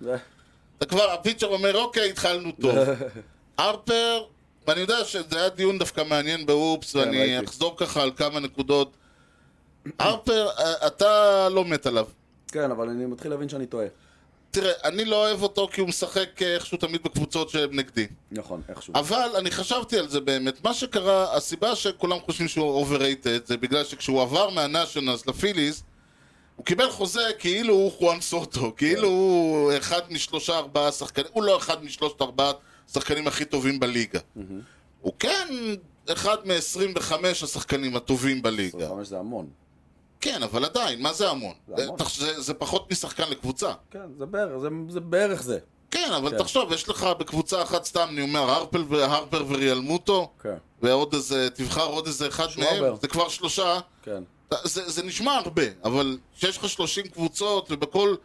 אתה כבר, הפיצ'ר אומר, אוקיי, התחלנו טוב. הרפר, ואני יודע שזה היה דיון דווקא מעניין בוופס, ואני ראיתי. אחזור ככה על כמה נקודות. הרפר, אה, אתה לא מת עליו. כן, אבל אני מתחיל להבין שאני טועה. תראה, אני לא אוהב אותו כי הוא משחק אה, איכשהו תמיד בקבוצות שהן נגדי. נכון, איכשהו. אבל אני חשבתי על זה באמת. מה שקרה, הסיבה שכולם חושבים שהוא overrated זה בגלל שכשהוא עבר מהנאשונלס לפיליז, הוא קיבל חוזה כאילו הוא חואן סוטו, כן. כאילו הוא אחד משלושה ארבעה שחקנים, הוא לא אחד משלושת ארבעת השחקנים הכי טובים בליגה. הוא כן אחד מ-25 השחקנים הטובים בליגה. 25 זה המון. כן, אבל עדיין, מה זה המון? זה המון. תחש- זה- זה פחות משחקן לקבוצה. כן, זה בערך זה, זה, בערך זה. כן, אבל כן. תחשוב, יש לך בקבוצה אחת סתם, אני אומר, הרפל ו- הרפר וריאלמוטו, כן, ועוד איזה, תבחר עוד איזה אחד שוואבר. מהם, זה כבר שלושה. כן. זה, זה נשמע הרבה, אבל כשיש לך 30 קבוצות, ובכל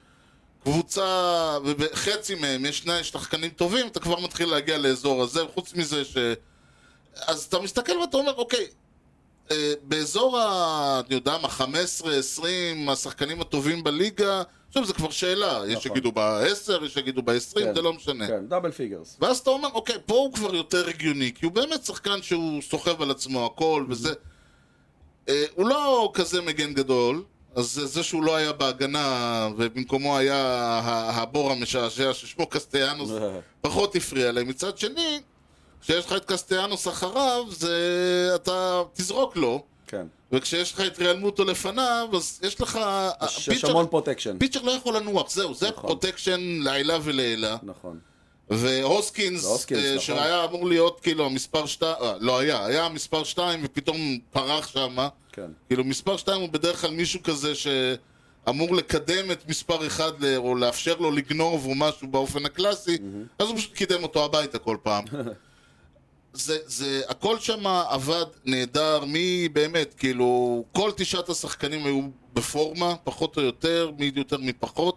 קבוצה, ובחצי מהם יש שני שחקנים טובים, אתה כבר מתחיל להגיע לאזור הזה, חוץ מזה ש... אז אתה מסתכל ואתה אומר, אוקיי, אה, באזור ה... אני יודע מה, 15, 20, השחקנים הטובים בליגה, עכשיו זה כבר שאלה, יש נכון. שיגידו ב-10, יש שיגידו ב-20, כן. זה לא משנה. כן, דאבל פיגרס. ואז אתה אומר, אוקיי, פה הוא כבר יותר הגיוני, כי הוא באמת שחקן שהוא סוחב על עצמו הכל וזה. אה, הוא לא כזה מגן גדול, אז זה- זה שהוא לא היה בהגנה, ובמקומו היה ה- הבור המשעשע ששמו קסטיאנוס, פחות הפריע להם. מצד שני, כשיש לך את קסטיאנוס אחריו, זה... אתה תזרוק לו, כן. וכשיש לך את ריאלמוטו לפניו, אז יש לך... יש יש הפיצ'ר- המון פרוטקשן. אה, פיצ'ר לא יכול לנוח, זהו, זה נכון. פרוטקשן לעילה ולעילה. נכון. והוסקינס, והוסקינס, אה, נכון. שהיה אמור להיות כאילו המספר שתיים, אה, לא היה, היה מספר שתיים ופתאום פרח שמה. כן. כאילו מספר שתיים הוא בדרך כלל מישהו כזה שאמור לקדם את מספר אחד ל- או לאפשר לו לגנוב או משהו באופן הקלאסי, אז הוא פשוט קידם אותו הביתה כל פעם. זה, זה, הכל שם עבד נהדר, מי באמת, כאילו, כל תשעת השחקנים היו בפורמה, פחות או יותר, מי יותר מפחות.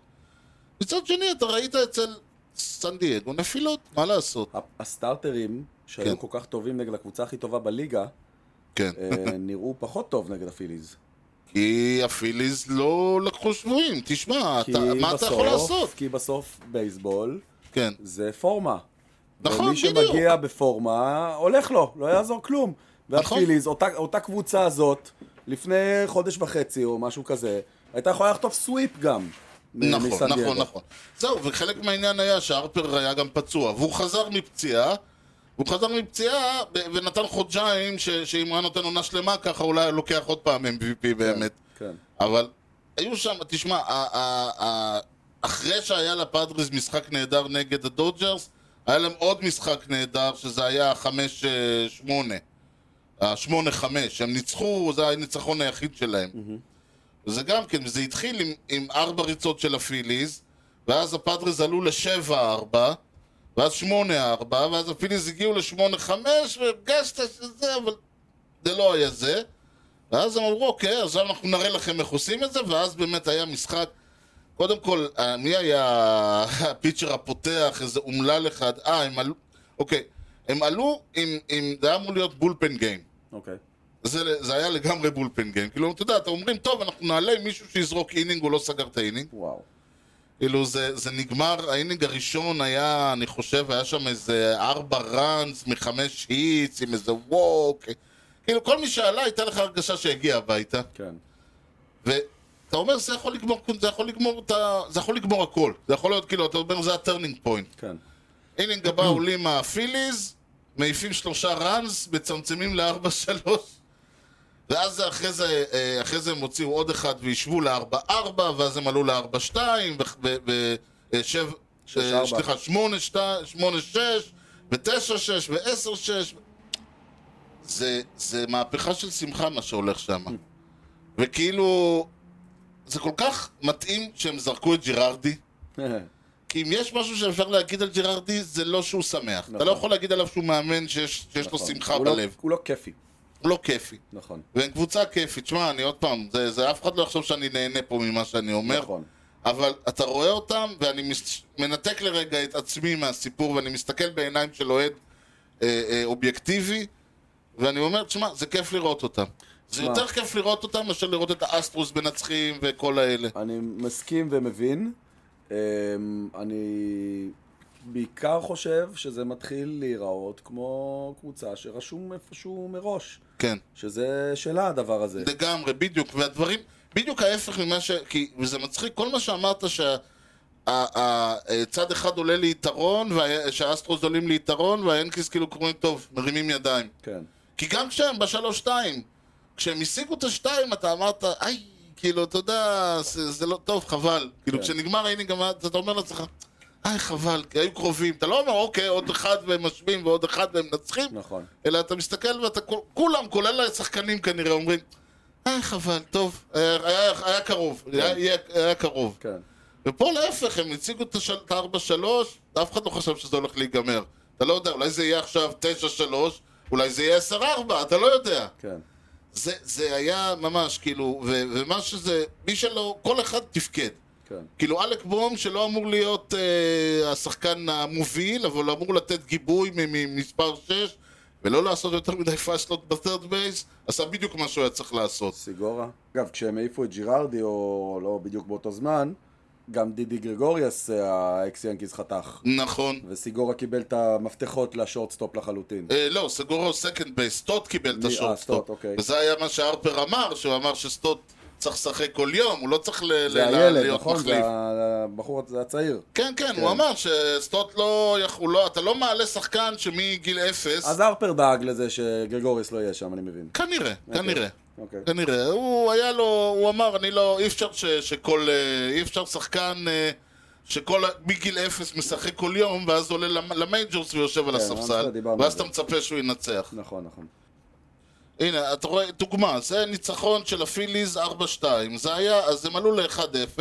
מצד שני, אתה ראית אצל סן דייגו נפילות, מה לעשות? ה- הסטארטרים שהיו כן. כל כך טובים נגד הקבוצה הכי טובה בליגה, כן. אה, נראו פחות טוב נגד הפיליז. כי הפיליז לא לקחו שבויים, תשמע, כי אתה, מה אתה יכול בסוף- לעשות? כי בסוף בייסבול כן. זה פורמה. נכון, ומי בדיוק. שמגיע בפורמה, הולך לו, לא יעזור כלום. נכון. והפיליז, אותה, אותה קבוצה הזאת, לפני חודש וחצי או משהו כזה, הייתה יכולה לחטוף סוויפ גם. מ- נכון, מסן דייגו. נכון, נכון. זהו, וחלק מהעניין היה שהרפר היה גם פצוע, והוא חזר מפציעה, והוא חזר מפציעה ו- ונתן חודשיים, ש- שאם הוא היה נותן עונה שלמה, ככה אולי היה לוקח עוד פעם MVP באמת. כן, אבל היו שם, תשמע, ה- ה- ה- אחרי שהיה לפאדריס משחק נהדר נגד הדודג'רס, היה להם עוד משחק נהדר, שזה היה 5 שמונה. השמונה חמש, הם ניצחו, זה הניצחון היחיד שלהם. זה גם כן, זה התחיל עם, עם ארבע ריצות של הפיליז, ואז הפאדריז עלו לשבע ארבע, ואז שמונה ארבע, ואז הפיליז הגיעו לשמונה חמש, והרגשת שזה, אבל זה לא היה זה. ואז הם אמרו, אוקיי, עכשיו אנחנו נראה לכם איך עושים את זה, ואז באמת היה משחק. קודם כל, אה, מי היה הפיצ'ר הפותח, איזה אומלל אחד? אה, הם עלו, אוקיי, הם עלו עם, עם זה היה אמור להיות בולפן גיים. אוקיי. זה, זה היה לגמרי בולפן גיים. כאילו, אתה יודע, אתה אומרים, טוב, אנחנו נעלה עם מישהו שיזרוק אינינג, הוא לא סגר את האינינג. וואו. כאילו, זה, זה נגמר, האינינג הראשון היה, אני חושב, היה שם איזה ארבע ראנס מחמש היטס, עם איזה ווק. כאילו, כל מי שעלה, הייתה לך הרגשה שהגיע הביתה. כן, ואתה אומר, זה יכול לגמור, זה יכול לגמור, את ה- זה יכול לגמור הכל. זה יכול להיות, כאילו, אתה אומר, זה הטרנינג פוינט. כן. אינינג הבא עולים הפיליז, מעיפים שלושה ראנס, מצמצמים לארבע שלוש. ואז אחרי זה, אה, אחרי זה הם הוציאו עוד אחד והשוו לארבע ארבע, ואז הם עלו לארבע שתיים, ושב... שש, ארבע. אה, סליחה, שמונה שתי- שמונה שש, ותשע שש, ועשר שש. זה, זה מהפכה של שמחה מה שהולך שם. Mm. וכאילו, זה כל כך מתאים שהם זרקו את ג'ירארדי. כי אם יש משהו שאפשר להגיד על ג'רארדי, זה לא שהוא שמח. אתה נכון. לא יכול להגיד עליו שהוא מאמן שיש שיש לו נכון. שמחה הוא לא- בלב. הוא לא כיפי. לא כיפי. נכון. והם קבוצה כיפית. שמע, אני עוד פעם, זה, זה אף אחד לא יחשוב שאני נהנה פה ממה שאני אומר. נכון. אבל אתה רואה אותם, ואני מס... מנתק לרגע את עצמי מהסיפור, ואני מסתכל בעיניים של אוהד אה, אה, אובייקטיבי, ואני אומר, תשמע, זה כיף לראות אותם. זה שמע. יותר כיף לראות אותם מאשר לראות את האסטרוס מנצחים וכל האלה. אני מסכים ומבין. אמ, אני בעיקר חושב שזה מתחיל להיראות כמו קבוצה שרשום איפשהו מראש, כן. שזה שלה הדבר הזה. לגמרי, בדיוק, והדברים, בדיוק ההפך ממה ש... כי זה מצחיק, כל מה שאמרת שה... ה- ה- אה, צד אחד עולה ליתרון, וה- שהאסטרוס עולים ליתרון, והיאנקיס כאילו קוראים טוב, מרימים ידיים. כן. כי גם כשהם בשלוש-שתיים, כשהם השיגו את השתיים, אתה אמרת, איי, כאילו, אתה יודע, זה, זה לא טוב, חבל. כאילו, כן. כשנגמר האינינג, אמרת- אתה אומר לעצמך, איי, חבל, כי היו קרובים. אתה לא אומר, אוקיי, עוד אחד והם משווים, ועוד אחד והם מנצחים, נכון. אלא אתה מסתכל ואתה, כול- כולם, כולל השחקנים כנראה, אומרים, אה, חבל, טוב, היה, היה, היה קרוב, היה, היה, היה קרוב. כן. ופה להפך, הם הציגו את השל- את ה-4-3, אף אחד לא חשב שזה הולך להיגמר. אתה לא יודע, אולי זה יהיה עכשיו 9-3, אולי זה יהיה 10-4, אתה לא יודע. כן. זה, זה היה ממש, כאילו, ו- ומה שזה, מי שלא, כל אחד תפקד. כן. כאילו, אלק בום, שלא אמור להיות אה, השחקן המוביל, אבל הוא אמור לתת גיבוי מ- ממספר 6, ולא לעשות יותר מדי פאשלות בת'רד בייס, עשה בדיוק מה שהוא היה צריך לעשות. סיגורה. אגב, כשהם העיפו את ג'ירארדי, או לא בדיוק באותו זמן, גם דידי גרגוריאס, האקס ינקיז חתך. נכון. וסיגורה קיבל את המפתחות לשורטסטופ לחלוטין. אה, לא, סגורו סקנד בייס, סטוט קיבל את מי- אה, השורטסטופ. סטוט, אוקיי. וזה היה מה שהרפר אמר, שהוא אמר שסטוט צריך לשחק כל יום, הוא לא צריך ל- ל- זה ל- הילד, להיות נכון? מחליף. זה ה- הבחור הזה הצעיר. כן, כן, הוא אמר שסטוט לא יכול, לא- אתה לא מעלה שחקן שמגיל אפס, אז הרפר דאג לזה שגרגוריס לא יהיה שם, אני מבין. כנראה, כנראה. אוקיי. כנראה, הוא היה לו, הוא אמר, אני לא, אי אפשר ש, שכל, אה, אי אפשר שחקן אה, שכל, ה- מגיל אפס משחק כל יום, ואז עולה למ- למייג'ורס ויושב על כן, הספסל, אנחנו דיברנו ואז על זה. אתה מצפה שהוא ינצח. נכון, נכון. הנה, אתה רואה, דוגמה, זה ניצחון של הפיליז 4-2. זה היה, אז הם עלו ל-1-0,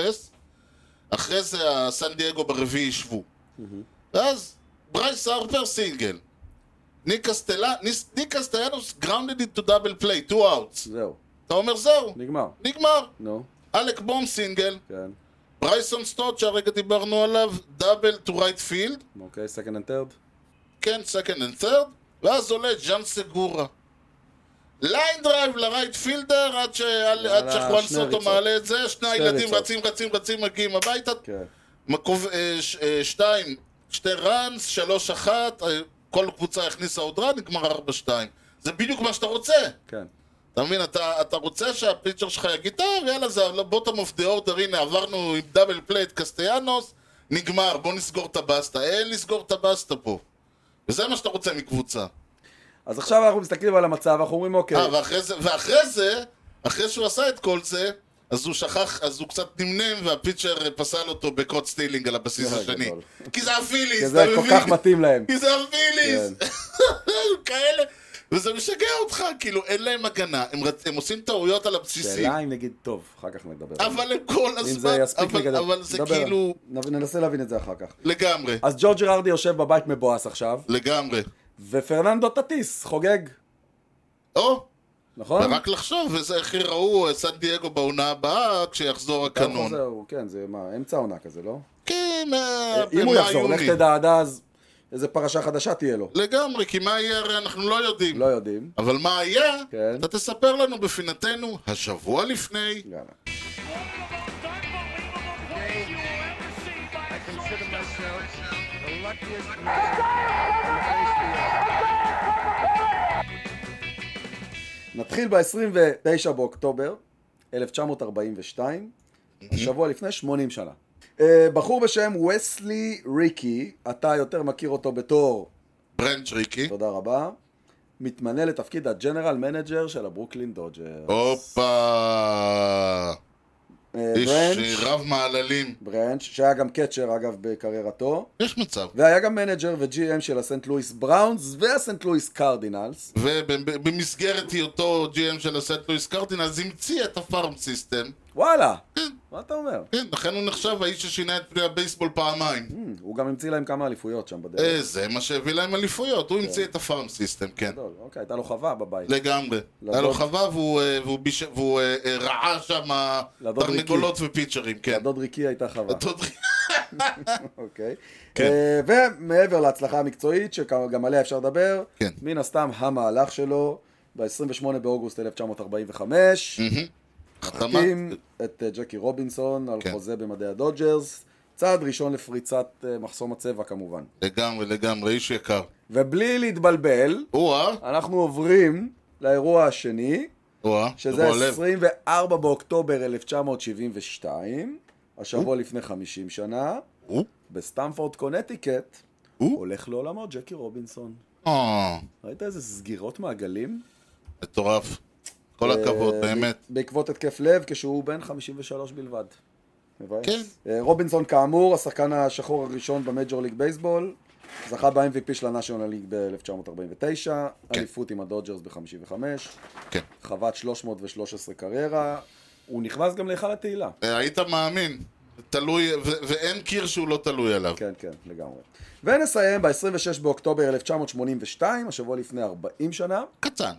אחרי זה הסן דייגו ברביעי ישבו. ואז ברייס הרפר סינגל. ניק קסטלה- ניס- ניק קסטיאנוס גראונדד into double play, two outs. זהו, אתה אומר זהו, נגמר. נגמר. נו, אלק בום סינגל, כן. ברייסון סטוט שהרגע דיברנו עליו, דאבל to right field, אוקיי, second and third. כן, second and third, ואז עולה ג'אן סגורה. ליין דרייב לרייט פילדר עד, ש... עד וואלה, שחואן שני סוטו ריצות. מעלה את זה, שני הילדים ריצות. רצים, רצים, רצים, מגיעים הביתה, כן. מקוב, אה, ש, אה, שתיים, שתי ראנס, שלוש אחת, אה, כל קבוצה הכניסה עוד ראן, נגמר ארבע שתיים. זה בדיוק מה שאתה רוצה. כן. אתה מבין, אתה, אתה רוצה שהפיצ'ר שלך יגיד, טוב, יאללה, זה בוטום אוף דה אורדר, הנה, עברנו עם דאבל פליי את קסטיאנוס, נגמר, בוא נסגור את הבסטה. אין לסגור את הבסטה פה. וזה מה שאתה רוצה מקבוצה. אז עכשיו אנחנו מסתכלים על המצב, אנחנו אומרים אוקיי. אה, ואחרי זה, ואחרי זה, אחרי שהוא עשה את כל זה, אז הוא שכח, אז הוא קצת נמנם, והפיצ'ר פסל אותו בקוד סטילינג על הבסיס אה, השני. גדול. כי זה כי הפיליס, זה אתה כל מבין? כך מתאים כן. להם. כי זה הפיליס! כאלה, וזה משגע אותך, כאילו, אין להם הגנה, הם רצ- הם עושים טעויות על הבסיסים. שאלה אם נגיד, טוב, אחר כך נדבר. על זה. אבל הם כל אם זה הזמן, יספיק אבל- נגדל. אבל זה נדבר. כאילו, נב- ננסה להבין את זה אחר כך. לגמרי, אז ג'ורג' ג'רארדי יושב בבית מבואס עכשיו, לגמרי. ופרננדו טטיס חוגג, או, נכון? רק לחשוב, וזה איך יראו את סן דייגו בעונה הבאה, כשיחזור גם הקנון. חוזר, כן, זה מה, אמצע עונה כזה, לא? כן, מה- אם הוא במאי, יחזור, לך יוני. תדע עד אז איזה פרשה חדשה תהיה לו. לגמרי, כי מה יהיה הרי אנחנו לא יודעים. לא יודעים. אבל מה היה, כן. אתה תספר לנו בפינתנו השבוע לפני. יאללה. I consider myself the luckiest man. נתחיל ב-29 באוקטובר 1942, השבוע לפני 80 שנה. אה, בחור בשם וסלי ריקי, אתה יותר מכיר אותו בתור, ברנץ' ריקי. תודה רבה, מתמנה לתפקיד הג'נרל מנג'ר של הברוקלין דודג'ר. אה, הופה! איש אה, ברנץ', רב מעללים. ברנץ', אה, שהיה גם קצ'ר אגב בקריירתו, יש מצב. והיה גם מנג'ר ו-GM של הסנט לואיס בראונס והסנט לואיס קרדינלס. ובמסגרת היותו GM של הסט לואיס קרטינלס המציא את הפארם סיסטם. וואלה, מה אתה אומר? כן, לכן הוא נחשב האיש ששינה את פני הבייסבול פעמיים. Hmm, הוא גם המציא להם כמה אליפויות שם בדרך. אה, זה מה שהביא להם אליפויות, כן. הוא המציא את הפארם סיסטם, כן. גדול, אוקיי, הייתה לו חווה בבית. לגמרי. היה לו לדוד. חווה והוא, אה, והוא ביש- והוא אה, אה, רעה שם לדוד תרנגולות ופיצ'רים, כן. לדוד ריקי הייתה חווה, הדוד ריקי. אוקיי. כן. אה, ומעבר להצלחה המקצועית, שגם עליה אפשר לדבר, כן. מן הסתם המהלך שלו, ב-28 באוגוסט 1945, החתמה. הקים את אה, ג'קי רובינסון על כן. חוזה במדעי הדודג'רס, צעד ראשון לפריצת אה, מחסום הצבע כמובן. לגמרי, לגמרי, איש יקר. אה? ובלי להתבלבל, או-אה, אנחנו עוברים לאירוע השני, או-אה, שזה רוע אה? לב. 24 באוקטובר 1972, השבוע לפני 50 שנה, או? בסטמפורד קונטיקט, או? הולך לעולמו ג'קי רובינסון. אה, ראית איזה סגירות מעגלים? מטורף. כל הכבוד, אה, באמת. בעקבות התקף לב, כשהוא בן 53 בלבד. מבאס. כן. אה, רובינסון כאמור, השחקן השחור הראשון במייג'ור ליג בייסבול, זכה ב-MVP של הנאשיונל ליג ב-1949, כן. אליפות עם הדודג'רס ב-55, כן. חוות 313 קריירה, הוא נכנס גם להיכל התהילה. אה, היית מאמין. תלוי, ו- ואין קיר שהוא לא תלוי עליו. כן, כן, לגמרי. ונסיים ב-26 באוקטובר 1982, השבוע לפני 40 שנה, קטן.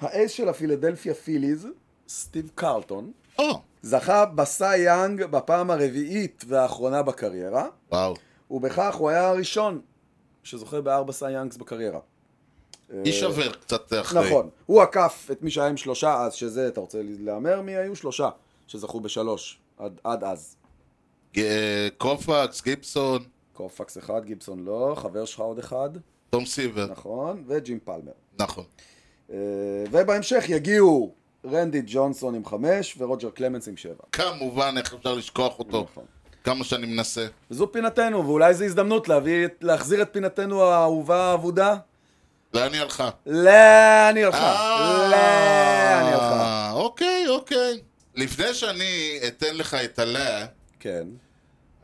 האס של הפילדלפיה פיליז, סטיב קרלטון, או, זכה בסי יאנג בפעם הרביעית והאחרונה בקריירה, וואו. ובכך הוא היה הראשון שזוכה בארבע סי יאנגס בקריירה. איש עבר קצת אחרי. אה, נכון. הוא עקף את מי שהיה עם שלושה אז, שזה, אתה רוצה להמר מי היו? שלושה שזכו בשלוש עד, עד אז. אה, קופקס, גיבסון, קורפקס אחד, גיבסון לא, חבר שלך עוד אחד, תום סיבר. נכון, וג'ים פלמר. נכון. אה, ובהמשך יגיעו רנדי ג'ונסון עם חמש ורוג'ר קלמנס עם שבע. כמובן, איך אפשר לשכוח אותו? נכון. כמה שאני מנסה. וזו פינתנו, ואולי זו הזדמנות להביא, את- להחזיר את פינתנו האהובה האבודה לאן היא הלכה? לאן היא הלכה? אה, כן. לאן היא הלכה? אוקיי, אוקיי. לפני שאני אתן לך את הלאה, כן.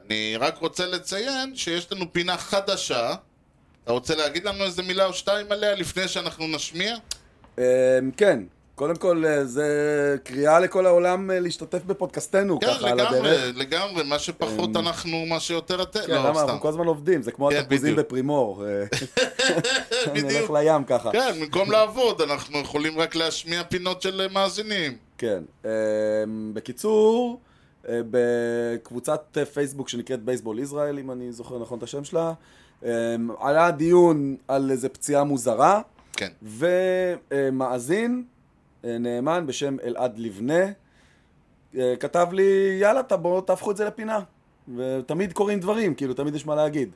אני רק רוצה לציין שיש לנו פינה חדשה. אתה רוצה להגיד לנו איזה מילה או שתיים עליה לפני שאנחנו נשמיע? אמ, כן. קודם כל, אה, זה קריאה לכל העולם אה, להשתתף בפודקאסטנו, כן, ככה על הדרך. אמ, לגמרי, לגמרי, מה שפחות אנחנו, מה שיותר אתם. כן, לא, למה אנחנו כל סתם. הזמן עובדים, זה כמו כן, התפוזים בדיוק. בפרימור. אה, נלך כן, בדיוק. לים ככה. כן, במקום לעבוד, אנחנו יכולים רק להשמיע פינות של אה, מאזינים. כן. אמ, בקיצור, אה, בקבוצת אה, פייסבוק שנקראת בייסבול ישראל, אם אני זוכר נכון את השם שלה, אמ, עלה דיון על איזה פציעה מוזרה. כן. ומאזין אה, נאמן בשם אלעד לבנה אה, כתב לי, יאללה, ת- בואו תהפכו את זה לפינה. ותמיד קורים דברים, כאילו, תמיד יש מה להגיד.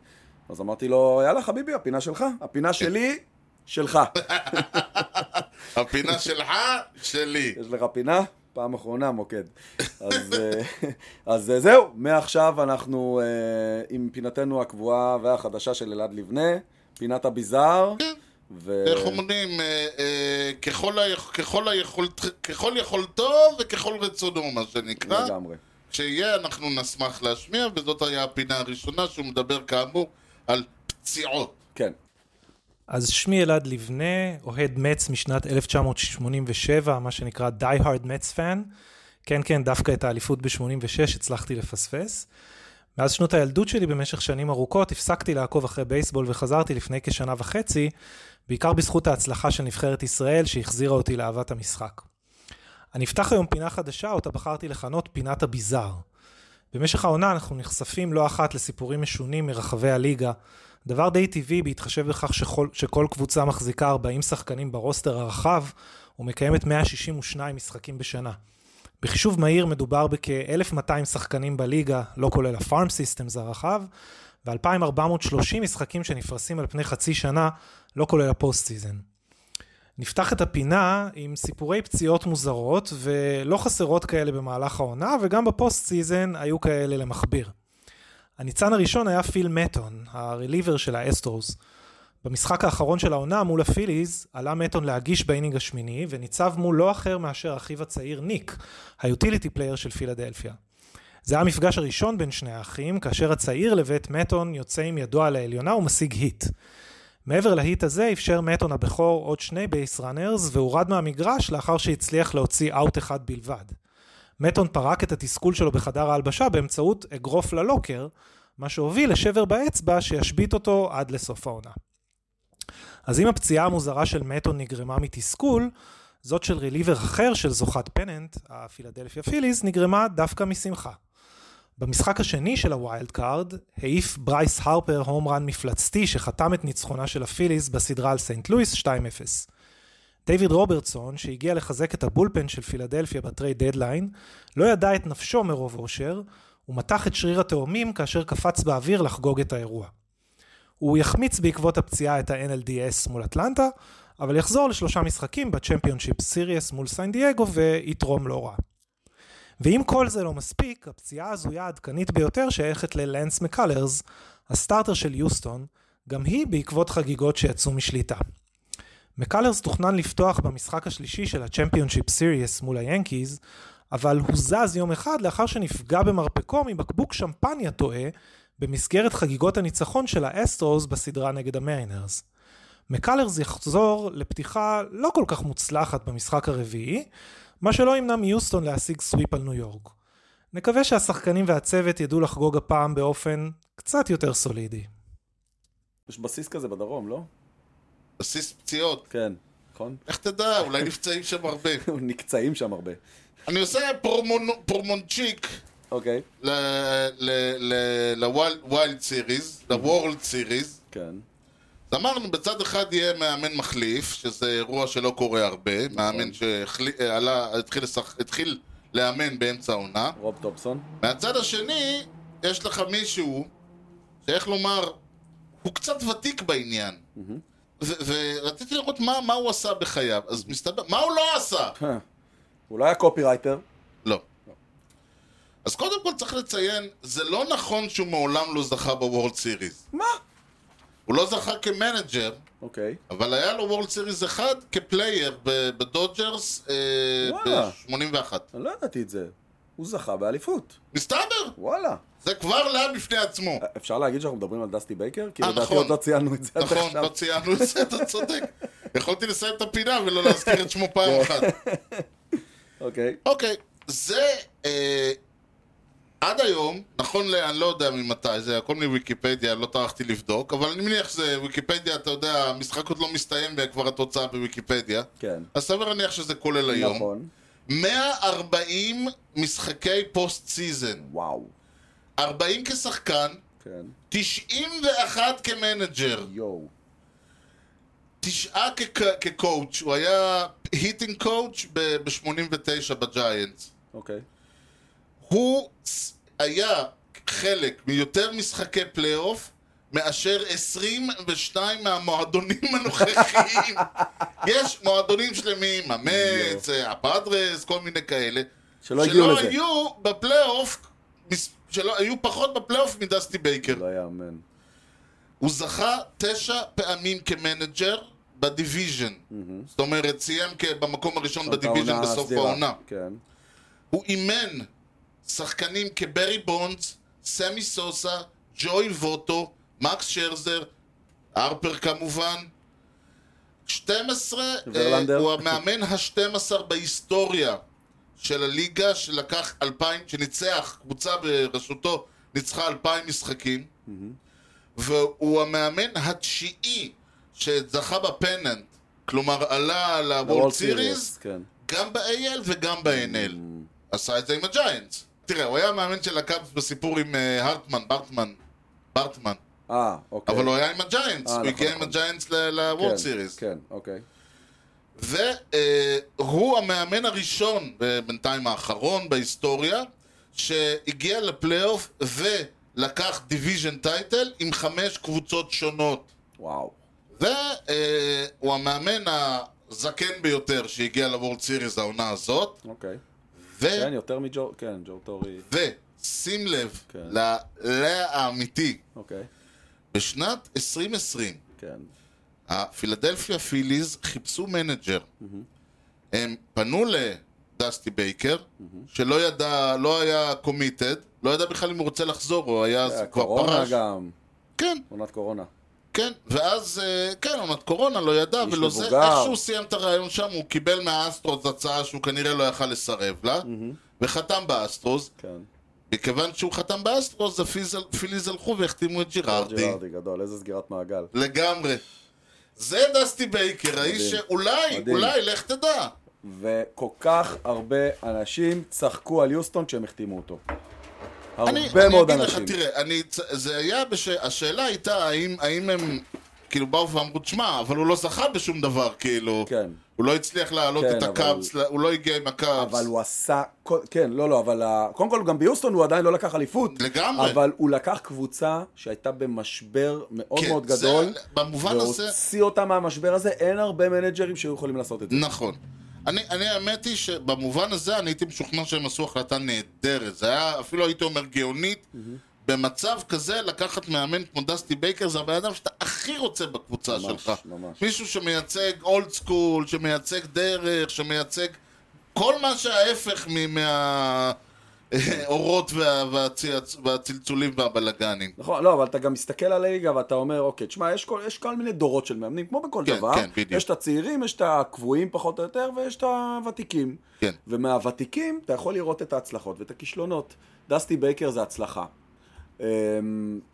אז אמרתי לו, יאללה, חביבי, הפינה שלך. הפינה שלי, שלך. הפינה שלך, שלי. יש לך פינה? פעם אחרונה, מוקד. אז, אה, אז אה, זהו, מעכשיו אנחנו אה, עם פינתנו הקבועה והחדשה של אלעד לבנה, פינת הביזאר. כן. ו... איך אומרים, אה, אה, ככל היכ- ככל היכולת- ככל יכולתו וככל רצונו, מה שנקרא. לגמרי. כשיהיה, אנחנו נשמח להשמיע, וזאת היה הפינה הראשונה שהוא מדבר כאמור על פציעות. כן. אז שמי אלעד לבנה, אוהד מצ משנת 1987, מה שנקרא Die Hard Mets Fan. כן, כן, דווקא את האליפות ב-86 הצלחתי לפספס. מאז שנות הילדות שלי במשך שנים ארוכות הפסקתי לעקוב אחרי בייסבול וחזרתי לפני כשנה וחצי, בעיקר בזכות ההצלחה של נבחרת ישראל שהחזירה אותי לאהבת המשחק. אני אפתח היום פינה חדשה, אותה בחרתי לכנות פינת הביזאר. במשך העונה אנחנו נחשפים לא אחת לסיפורים משונים מרחבי הליגה, דבר די טבעי בהתחשב בכך שכל, שכל קבוצה מחזיקה 40 שחקנים ברוסטר הרחב ומקיימת 162 משחקים בשנה. בחישוב מהיר מדובר בכ-1200 שחקנים בליגה, לא כולל הפארם סיסטמס הרחב, ו-2430 משחקים שנפרסים על פני חצי שנה, לא כולל הפוסט סיזן. נפתח את הפינה עם סיפורי פציעות מוזרות, ולא חסרות כאלה במהלך העונה, וגם בפוסט סיזן היו כאלה למכביר. הניצן הראשון היה פיל מטון, הרליבר של האסטרוס. במשחק האחרון של העונה מול הפיליז, עלה מטון להגיש באינינג השמיני, וניצב מול לא אחר מאשר אחיו הצעיר ניק, היוטיליטי פלייר של פילדלפיה. זה היה המפגש הראשון בין שני האחים, כאשר הצעיר לבית מטון יוצא עם ידו על העליונה ומשיג היט. מעבר להיט הזה אפשר מטון הבכור עוד שני בייס ראנרס והורד מהמגרש לאחר שהצליח להוציא אאוט אחד בלבד. מטון פרק את התסכול שלו בחדר ההלבשה באמצעות אגרוף ללוקר, מה שהוביל לשבר באצבע שישבית אותו עד לסוף העונה. אז אם הפציעה המוזרה של מטון נגרמה מתסכול, זאת של ריליבר אחר של זוכת פננט, הפילדלפיה פיליז, נגרמה דווקא משמחה. במשחק השני של הווילד קארד, העיף ברייס הרפר הום רן מפלצתי שחתם את ניצחונה של הפיליז בסדרה על סנט לואיס 2-0. דיוויד רוברטסון, שהגיע לחזק את הבולפן של פילדלפיה בטרי דדליין, לא ידע את נפשו מרוב אושר, ומתח את שריר התאומים כאשר קפץ באוויר לחגוג את האירוע. הוא יחמיץ בעקבות הפציעה את ה-NLDS מול אטלנטה, אבל יחזור לשלושה משחקים בצ'מפיונשיפ סיריוס מול סן דייגו ויתרום לא רע. ואם כל זה לא מספיק, הפציעה ההזויה העדכנית ביותר שייכת ללנס מקלרס, הסטארטר של יוסטון, גם היא בעקבות חגיגות שיצאו משליטה. מקלרס תוכנן לפתוח במשחק השלישי של הצ'מפיונשיפ סיריוס מול היאנקיז, אבל הוזז יום אחד לאחר שנפגע במרפקו מבקבוק שמפניה טועה במסגרת חגיגות הניצחון של האסטרוס בסדרה נגד המיינרס. מקלרס יחזור לפתיחה לא כל כך מוצלחת במשחק הרביעי, מה שלא ימנע מיוסטון להשיג סוויפ על ניו יורק. נקווה שהשחקנים והצוות ידעו לחגוג הפעם באופן קצת יותר סולידי. יש בסיס כזה בדרום, לא? בסיס פציעות. כן, נכון? איך תדע, אולי נפצעים שם הרבה. נקצעים שם הרבה. אני עושה פורמונו- פורמונצ'יק אוקיי, לווילד סיריז, לווורלד סיריז. כן. אז אמרנו, בצד אחד יהיה מאמן מחליף, שזה אירוע שלא קורה הרבה, מאמן שהתחיל התחיל לאמן באמצע העונה. רוב טופסון. מהצד השני, יש לך מישהו, שאיך לומר, הוא קצת ותיק בעניין. ו- ורציתי לראות מה, מה הוא עשה בחייו, אז מסתבר, מה הוא לא עשה? אה. הוא לא היה קופירייטר. לא. אז קודם כל צריך לציין, זה לא נכון שהוא מעולם לא זכה בוורלד סיריס. מה? הוא לא זכה כמנג'ר, אוקיי. אבל היה לו וורלד סיריס אחד כפלייר ב- בדודג'רס אה, וואלה. ב-81. אני לא ידעתי את זה. הוא זכה באליפות. מסתבר, וואלה. זה כבר לאה בפני עצמו. אפשר להגיד שאנחנו מדברים על דסטי בייקר? כי לדעתי נכון. עוד לא ציינו את זה עד נכון, עכשיו. לא ציינו את זה, אתה צודק. יכולתי לסיים את הפינה ולא להזכיר את שמו פעם כן. אחת. אוקיי. אוקיי, זה אה, עד היום, נכון, ל- אני לא יודע ממתי, זה הכל מוויקיפדיה, לא טרחתי לבדוק, אבל אני מניח שזה ויקיפדיה, אתה יודע, המשחק עוד לא מסתיים וכבר התוצאה בוויקיפדיה. כן. אז סביר להניח שזה כולל היום. נכון. 140 משחקי פוסט סיזן, וואו. 40 כשחקן, כן. 91 כמנג'ר. יואו. תשעה כ- כקואוץ', הוא היה היטינג קואוץ' ב-89 בג'יינטס. אוקיי. הוא צ- היה חלק מיותר משחקי פלייאוף מאשר 22 מהמועדונים הנוכחיים. יש מועדונים שלמים, המץ, הפאדרס, כל מיני כאלה, שלא הגיעו לזה. שלא היו בפלייאוף, מס- שלא היו פחות בפלייאוף מדסטי בייקר. לא יאמן. הוא זכה תשע פעמים כמנג'ר בדיוויז'ן. זאת אומרת, סיים כ- במקום הראשון בדיוויז'ן העונה בסוף הסדירה. העונה. כן. הוא אימן שחקנים כברי בונדס, סמי סוסה, ג'וי ווטו, מקס שרזר, הרפר כמובן. 12, ורלנדר. אה, הוא המאמן ה-12 בהיסטוריה של הליגה שלקח 2000, שניצח, קבוצה בראשותו ניצחה 2,000 משחקים. והוא המאמן התשיעי שזכה בפננט, כלומר עלה על ל-World ה-World Series, Series, כן. גם ב-AL וגם ב-NL. Mm. עשה את זה עם הג'יינטס. תראה, הוא היה המאמן של הקאבס בסיפור עם אה, הרטמן, ברטמן, ברטמן. אה, אוקיי. אבל הוא היה עם הג'יינטס, אה, הוא נכון, הגיע עם נכון. הג'יינטס ל-World Series. כן, אוקיי. והוא המאמן הראשון, אה, בינתיים האחרון בהיסטוריה, שהגיע לפלייאוף ולקח דיוויז'ן טייטל עם חמש קבוצות שונות. וואו. והוא המאמן הזקן ביותר שהגיע לוורד סיריס העונה הזאת. אוקיי. ו... כן, יותר מג'ו... כן, ג'ו טורי. ושים לב כן. ללאה האמיתי, אוקיי. בשנת 2020, כן. הפילדלפיה פיליז חיפשו מנג'ר. הם פנו לדסטי בייקר, שלא ידע, לא היה קומיטד, לא ידע בכלל אם הוא רוצה לחזור, הוא היה אז כבר אה, קורונה פרש. גם. כן, עונת קורונה. כן, ואז, אה, כן, עונת קורונה, לא ידע איש ולא זה. מבוגר. איך שהוא סיים את הרעיון שם, הוא קיבל מהאסטרוס הצעה שהוא כנראה לא יכל לסרב לה, וחתם באסטרוס. כן. מכיוון שהוא חתם באסטרוס, הפיזל- פיליז הלכו והחתימו את ג'ירארדי. ג'רארדי גדול, איזה סגירת מעגל. לגמרי. זה דסטי בייקר, האיש שאולי, מדהים. אולי, לך תדע. וכל כך הרבה אנשים צחקו על יוסטון כשהם החתימו אותו. אני, הרבה אני מאוד אגיד אנשים. לך, תראה, אני, צ- זה היה, בש... השאלה הייתה האם, האם הם כאילו באו ואמרו, תשמע, אבל הוא לא זכה בשום דבר, כאילו. כן. הוא לא הצליח להעלות כן, את אבל- הקאפס, אבל... הוא לא הגיע עם הקאפס. אבל הוא עשה, כל- כן, לא, לא, אבל ה- קודם כל גם ביוסטון הוא עדיין לא לקח אליפות. לגמרי. אבל הוא לקח קבוצה שהייתה במשבר מאוד כן, מאוד זה- גדול. במובן הזה- והוציא אותה מהמשבר הזה, אין הרבה מנג'רים שהיו יכולים לעשות את זה. נכון. אני, אני האמת היא שבמובן הזה אני הייתי משוכנע שהם עשו החלטה נהדרת. זה היה, אפילו הייתי אומר גאונית. Mm-hmm. במצב כזה, לקחת מאמן כמו דסטי בייקר זה הבן אדם שאתה הכי רוצה בקבוצה ממש, שלך. ממש. מישהו שמייצג אולד סקול, שמייצג דרך, שמייצג כל מה שההפך מ- מהאורות וה... והציצ... והצלצולים והבלגנים. נכון, לא, אבל אתה גם מסתכל על הליגה ואתה אומר, אוקיי, תשמע, יש כל, יש כל מיני דורות של מאמנים, כמו בכל כן, דבר. כן, בדיוק. יש את הצעירים, יש את הקבועים פחות או יותר, ויש את הוותיקים. כן. ומהוותיקים אתה יכול לראות את ההצלחות ואת הכישלונות. דסטי בייקר זה הצלחה. אמ,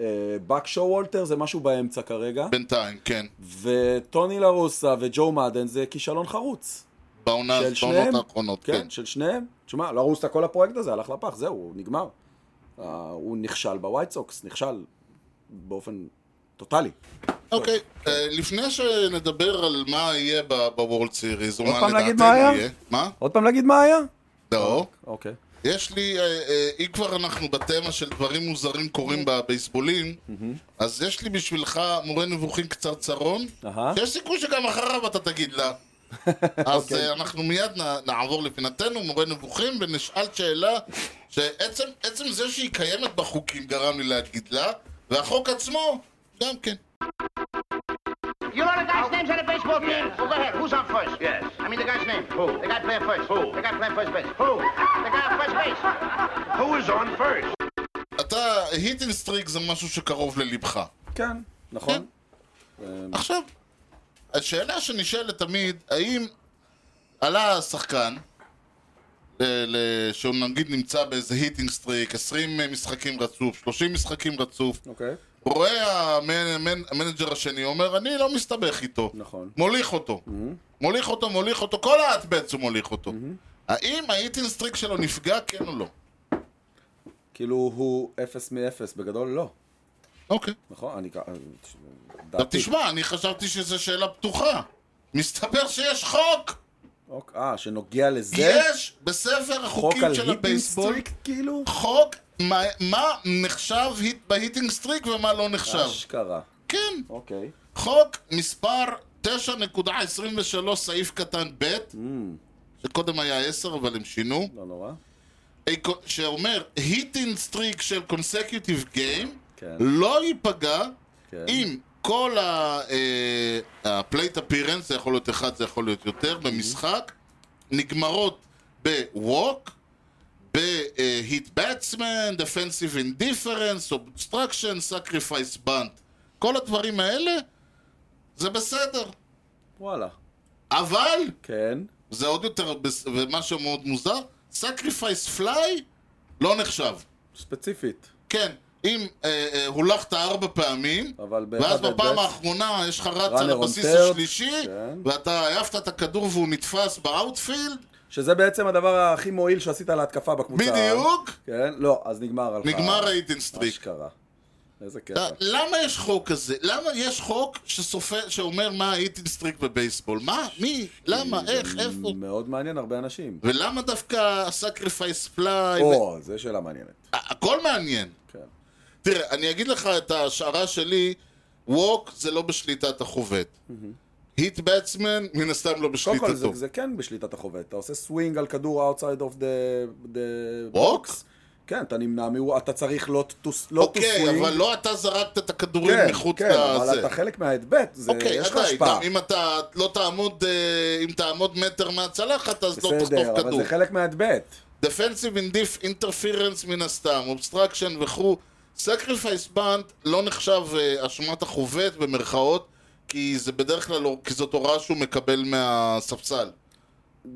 אה, באק שואו וולטר זה משהו באמצע כרגע, בינתיים, כן. וטוני לרוסה וג'ו מאדן זה כישלון חרוץ. בעונה, של בעונות שניהם? האחרונות, כן, כן. כן, של שניהם. תשמע, לא הרוסת כל הפרויקט הזה, הלך לפח, זהו, הוא נגמר. Uh, הוא נכשל בווייט סוקס, נכשל באופן טוטאלי. אוקיי, אה, לפני שנדבר על מה יהיה בוורלד סיריז, עוד ומה פעם לדעתנו להגיד מה היה? יהיה. מה? עוד פעם להגיד מה היה? לא. אוקיי. יש לי, אה, אה, אם כבר אנחנו בתמה של דברים מוזרים קורים אה. בבייסבולים, אז יש לי בשבילך מורה נבוכים קצרצרון, אהה. שיש סיכוי שגם אחריו אתה תגיד לה. אז אוקיי. אה, אנחנו מיד נ- נעבור לפינתנו, מורה נבוכים, ונשאל שאלה שעצם עצם זה שהיא קיימת בחוקים גרם לי להגיד לה, והחוק עצמו, גם כן. You know the guy's name's on the baseball team? Well, go ahead. Who's on first? Yes. I mean the guy's name. Who? The guy playing first. Who? The guy playing first base. Who? The guy on first base. Who is on first? אתה, היטינג סטריק זה משהו שקרוב ללבך. כן, נכון. עכשיו, השאלה שנשאלת תמיד, האם עלה השחקן, אה, ל- שהוא נגיד נמצא באיזה היטינג סטריק, 20 משחקים רצוף, 30 משחקים רצוף, אוקיי. רואה המנ- המנ- המנג'ר השני, אומר, אני לא מסתבך איתו. נכון. מוליך אותו. מוליך אותו, מוליך אותו, כל האטבץ הוא מוליך אותו. האם ההיטינג סטריק שלו נפגע, כן או לא? כאילו הוא אפס מאפס, בגדול לא. אוקיי. נכון? אני... עכשיו דעתי. תשמע, אני חשבתי שזו שאלה פתוחה. מסתבר שיש חוק! אוקיי, אה, שנוגע לזה? יש בספר חוק החוקים על של היטינג הבייסבול סטריק, כאילו? חוק מה, מה נחשב היט, בהיטינג סטריק ומה לא נחשב. אשכרה. כן, אוקיי. חוק מספר 9.23 סעיף קטן ב', Mm. שקודם היה 10 אבל הם שינו, לא נורא. שאומר היטינג סטריק של קונסקיוטיב גיים כן. לא ייפגע כן. אם כל הפלייט אפירנס, זה יכול להיות אחד, זה יכול להיות Mm-hmm. יותר, במשחק, נגמרות בווק, ב-hit batsman, defensive indifference, obstruction, sacrifice bunt. כל הדברים האלה, זה בסדר. וואלה. אבל, כן. זה עוד יותר, בס- ומה שמאוד מוזר, sacrifice fly לא נחשב. ספציפית. כן, אם אה, אה, הולכת ארבע פעמים, אבל באחד ואז בפעם בבית- האחרונה יש לך רץ runner על on הבסיס third, השלישי, כן. ואתה העפת את הכדור והוא נתפס באאוטפילד, שזה בעצם הדבר הכי מועיל שעשית להתקפה בקבוצה. בדיוק, כן? לא, אז נגמר עליך. נגמר אה, האיטינג סטריק. אשכרה. איזה קטע. אתה- למה יש חוק כזה? למה יש חוק שסופר, שאומר מה האיטינג סטריק בבייסבול? מה? מי? למה? איך? איפה? מאוד מעניין הרבה אנשים. ולמה דווקא הסקריפייס פליי? או, זו שאלה מעניינת. הכל מעניין. כן. תראה, אני אגיד לך את ההשערה שלי, ווק זה לא בשליטת החובט. היט בטסמן, מן הסתם לא קודם כל, זה, בשליטתו. זה כן בשליטת החובט. אתה עושה סווינג על כדור outside of the, the Walk? box. כן, אתה נמנע מ... אתה צריך לא to לא to אוקיי, swing. אבל לא אתה זרקת את הכדורים כן, מחוץ כן, אבל לזה. אתה חלק מההדבט, זה- אוקיי, יש לך עדיין, השפעה. גם אם אתה לא תעמוד, אה, אם תעמוד מטר מהצלחת, אז לא בסדר, תחטוף אבל כדור. זה חלק מההדבט. Defensive Indiff Interference מן הסתם, Obstruction וכו', סקריפייס בנד לא נחשב אה, אשמת החובט במרכאות, כי זה בדרך כלל, לא- כי זאת הוראה שהוא מקבל מהספסל.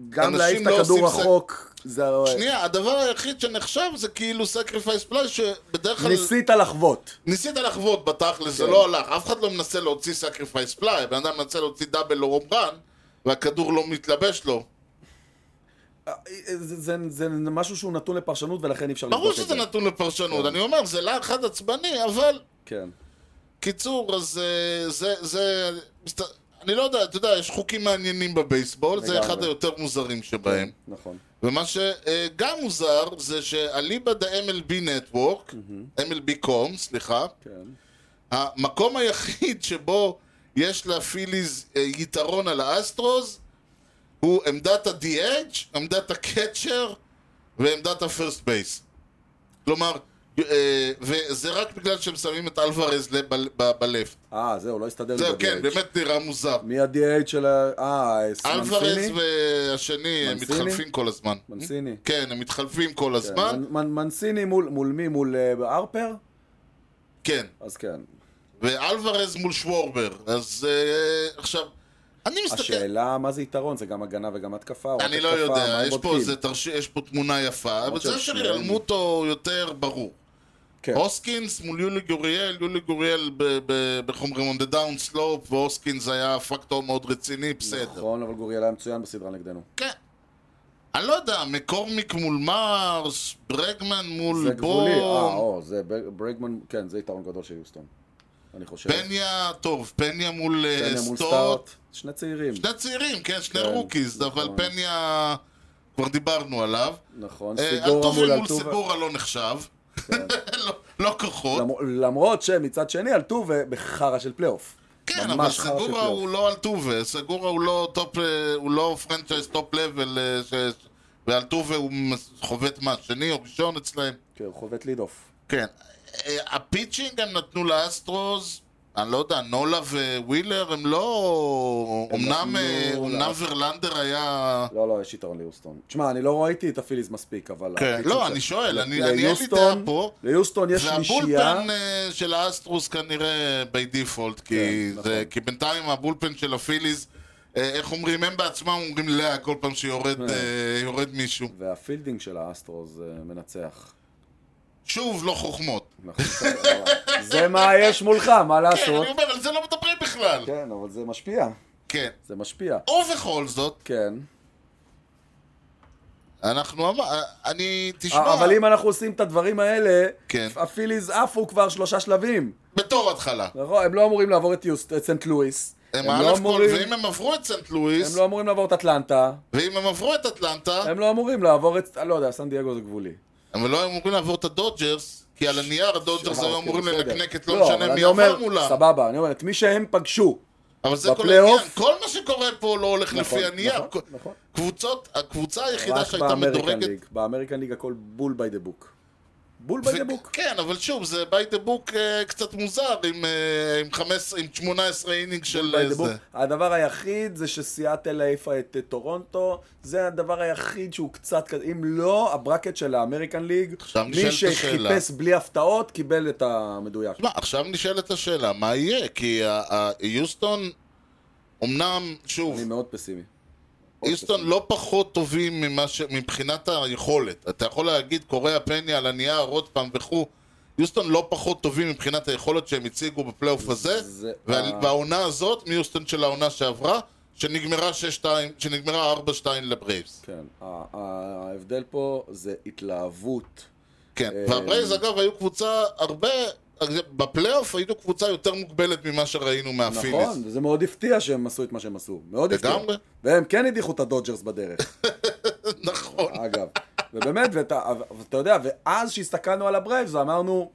גם אנשים להעיף את לא הכדור עושים סק- רחוק, זה... שנייה, הדבר היחיד שנחשב זה כאילו סקריפייס פליי, שבדרך כלל... ניסית כן. לחוות. ניסית לחוות בתכלס, זה לא הלך. אף אחד לא מנסה להוציא סקריפייס פליי, הבן אדם מנסה להוציא דאבל או רומרן, והכדור לא מתלבש לו. זה, זה, זה משהו שהוא נתון לפרשנות ולכן אי אפשר לבדוק ברור את זה. שזה נתון לפרשנות, אני אומר, זה לחץ עצבני, אבל... כן. קיצור, אז אה, זה... זה... מסת- אני לא יודע, אתה יודע, יש חוקים מעניינים בבייסבול, זה לגמרי. אחד היותר מוזרים שבהם. נכון. ומה שגם מוזר, זה שאליבד ה-MLB נטוורק, MLB קום, סליחה, כן. המקום היחיד שבו יש לפיליז אה, יתרון על האסטרוס הוא עמדת ה-DH, עמדת הקצ'ר ועמדת הפרסט בייס. כלומר, אה, וזה רק בגלל שהם שמים את אלוורז לב- ב- ב- בלפט. אה, זהו, לא הסתדר לי זהו, ב-DH. כן, באמת נראה מוזר. מי ה-DH של ה... אה, אלוורז מנסיני? והשני הם מנסיני? מתחלפים כל הזמן. מנסיני. כן, הם מתחלפים כל הזמן, כן. מנ- מנ- מנסיני מול מול מי? מול אה, הרפר? כן. אז כן. ואלוורז מול שוורבר. אז אה, עכשיו, אני מסתכל... השאלה מה זה יתרון, זה גם הגנה וגם התקפה? או רק אני לא התקפה, יודע, מה הם יש פה בודקים? איזה תרש... יש פה תמונה יפה, אבל זה שהם של שניהם- אלמוטו יותר ברור. כן. הוסקינס מול יולי גוריאל, יולי גוריאל ב- ב- איך אומרים, on the down slope, והוסקינס היה פקטור מאוד רציני, בסדר. נכון, אבל גוריאל היה מצוין בסדרה נגדנו. כן. אני לא יודע, מקורמיק מול מרס, ברגמן זה מול גבולי, אה, בום, או, זה בר- ברגמן, כן, זה יתרון גדול של יוסטון. אני חושב. פניה, טוב, פניה מול אה, אוקיי. פניה מול סטוט. סטארט. שני צעירים. שני צעירים, כן, שני כן, רוקיז, אבל נכון. פניה, כבר דיברנו עליו. נכון, אה, סיגורה מול הטובל מול אלטובה. סגורה לא נחשב. לא- לא כוחות. למ- למרות שמצד שני אלטובה בחרא של פלייאוף. כן, אבל ממש חרא של סגורה הוא פלייאוף. לא אלטובה, סגורה הוא לא טופ, אה, הוא לא פרנצ'ייז טופ לבל, אה, ש- ואלטובה הוא מס- חובט מה, שני או ראשון אצלהם? כן, הוא חובט ליד אוף. כן. אה, הפיצ'ינג הם נתנו לאסטרוס, אני לא יודע, נולה ווילר הם לא... הם אמנם נתנו אה, אמנם לאס- ורלנדר היה... לא, לא, יש יתרון ליוסטון. תשמע, אני לא ראיתי את הפיליז מספיק, אבל... כן, הפיצ'ר לא, של- אני שואל, ל- אני- אני אין לי ליוסטון- דעה פה. ליוסטון יש שלישייה. והבולפן אה, של האסטרוס כנראה בי דיפולט, כי, כן, זה, נכון. כי בינתיים הבולפן של הפיליז, אה, איך אומרים, הם בעצמם אומרים לאה כל פעם שיורד אה, יורד מישהו. והפילדינג של האסטרוס אה, מנצח. שוב, לא חוכמות. נכון, אבל זה מה יש מולך, מה כן, לעשות? אני אומר, על זה לא מדברים בכלל. כן, אבל זה משפיע. כן. זה משפיע. ובכל זאת, כן. אנחנו אמר... אני, תשמע, אה, אבל אם אנחנו עושים את הדברים האלה, כן. הפיליז עפו כבר שלושה שלבים. בתור התחלה. נכון, הם לא אמורים לעבור את יוסט- את סנט לואיס. הם א' לא כל, אמורים- ואם הם עברו את סנט לואיס, הם לא אמורים לעבור את אטלנטה, ואם הם עברו את אטלנטה, הם לא אמורים לעבור את, אני לא יודע, סן דייגו זה גבולי. הם לא היו אמורים לעבור את הדודג'רס, כי על הנייר הדודג'רס אה, היו אוקיי, אמורים בסדר. לנקנק את לא אבל משנה אני מי אומר, עבר מולם. סבבה, אני אומר, את מי שהם פגשו. אבל זה כל בפלייאוף- העניין, כל מה שקורה פה לא הולך נכון, לפי הנייר. נכון, כ- נכון. קבוצות, הקבוצה היחידה רק שהייתה באמריקן מדורגת... ליג. באמריקן ליג הכל בול ביי דה בוק. בול ביי דה ו- בוק. כן, אבל שוב, זה by the book אה, קצת מוזר עם, אה, עם, 15, עם 18 אינינג של by אה, the book. זה. הדבר היחיד זה שסיאטל העיפה את אה, טורונטו, זה הדבר היחיד שהוא קצת כזה, אם לא, הברקט של האמריקן ליג, עכשיו מי נשאלת השאלה. לא. שחיפש בלי הפתעות קיבל את המדויק. תשמע, עכשיו נשאלת השאלה, מה יהיה? כי ה- ה- יוסטון, אמנם, שוב, אני מאוד פסימי. איסטון לא פחות טובים ממה ש... מבחינת היכולת. אתה יכול להגיד קוריאה פניה על הנייר עוד פעם וכו'. יוסטון לא פחות טובים מבחינת היכולת שהם הציגו בפלייאוף הזה, זה- ועל- אה. והעונה הזאת, מיוסטון של העונה שעברה, שנגמרה 6-2, שנגמרה 4-2 לברייבס. כן, ה- ה- ההבדל פה זה התלהבות. כן. אה. והברייבס אגב היו קבוצה הרבה, בפלייאוף היינו קבוצה יותר מוגבלת ממה שראינו מהפיליס. נכון, זה מאוד הפתיע שהם עשו את מה שהם עשו. מאוד הפתיע. לגמרי. והם כן הדיחו את הדודג'רס בדרך, נכון. אגב. ובאמת, ואתה ואתה יודע, ואז שהסתכלנו על הברייבס, אמרנו,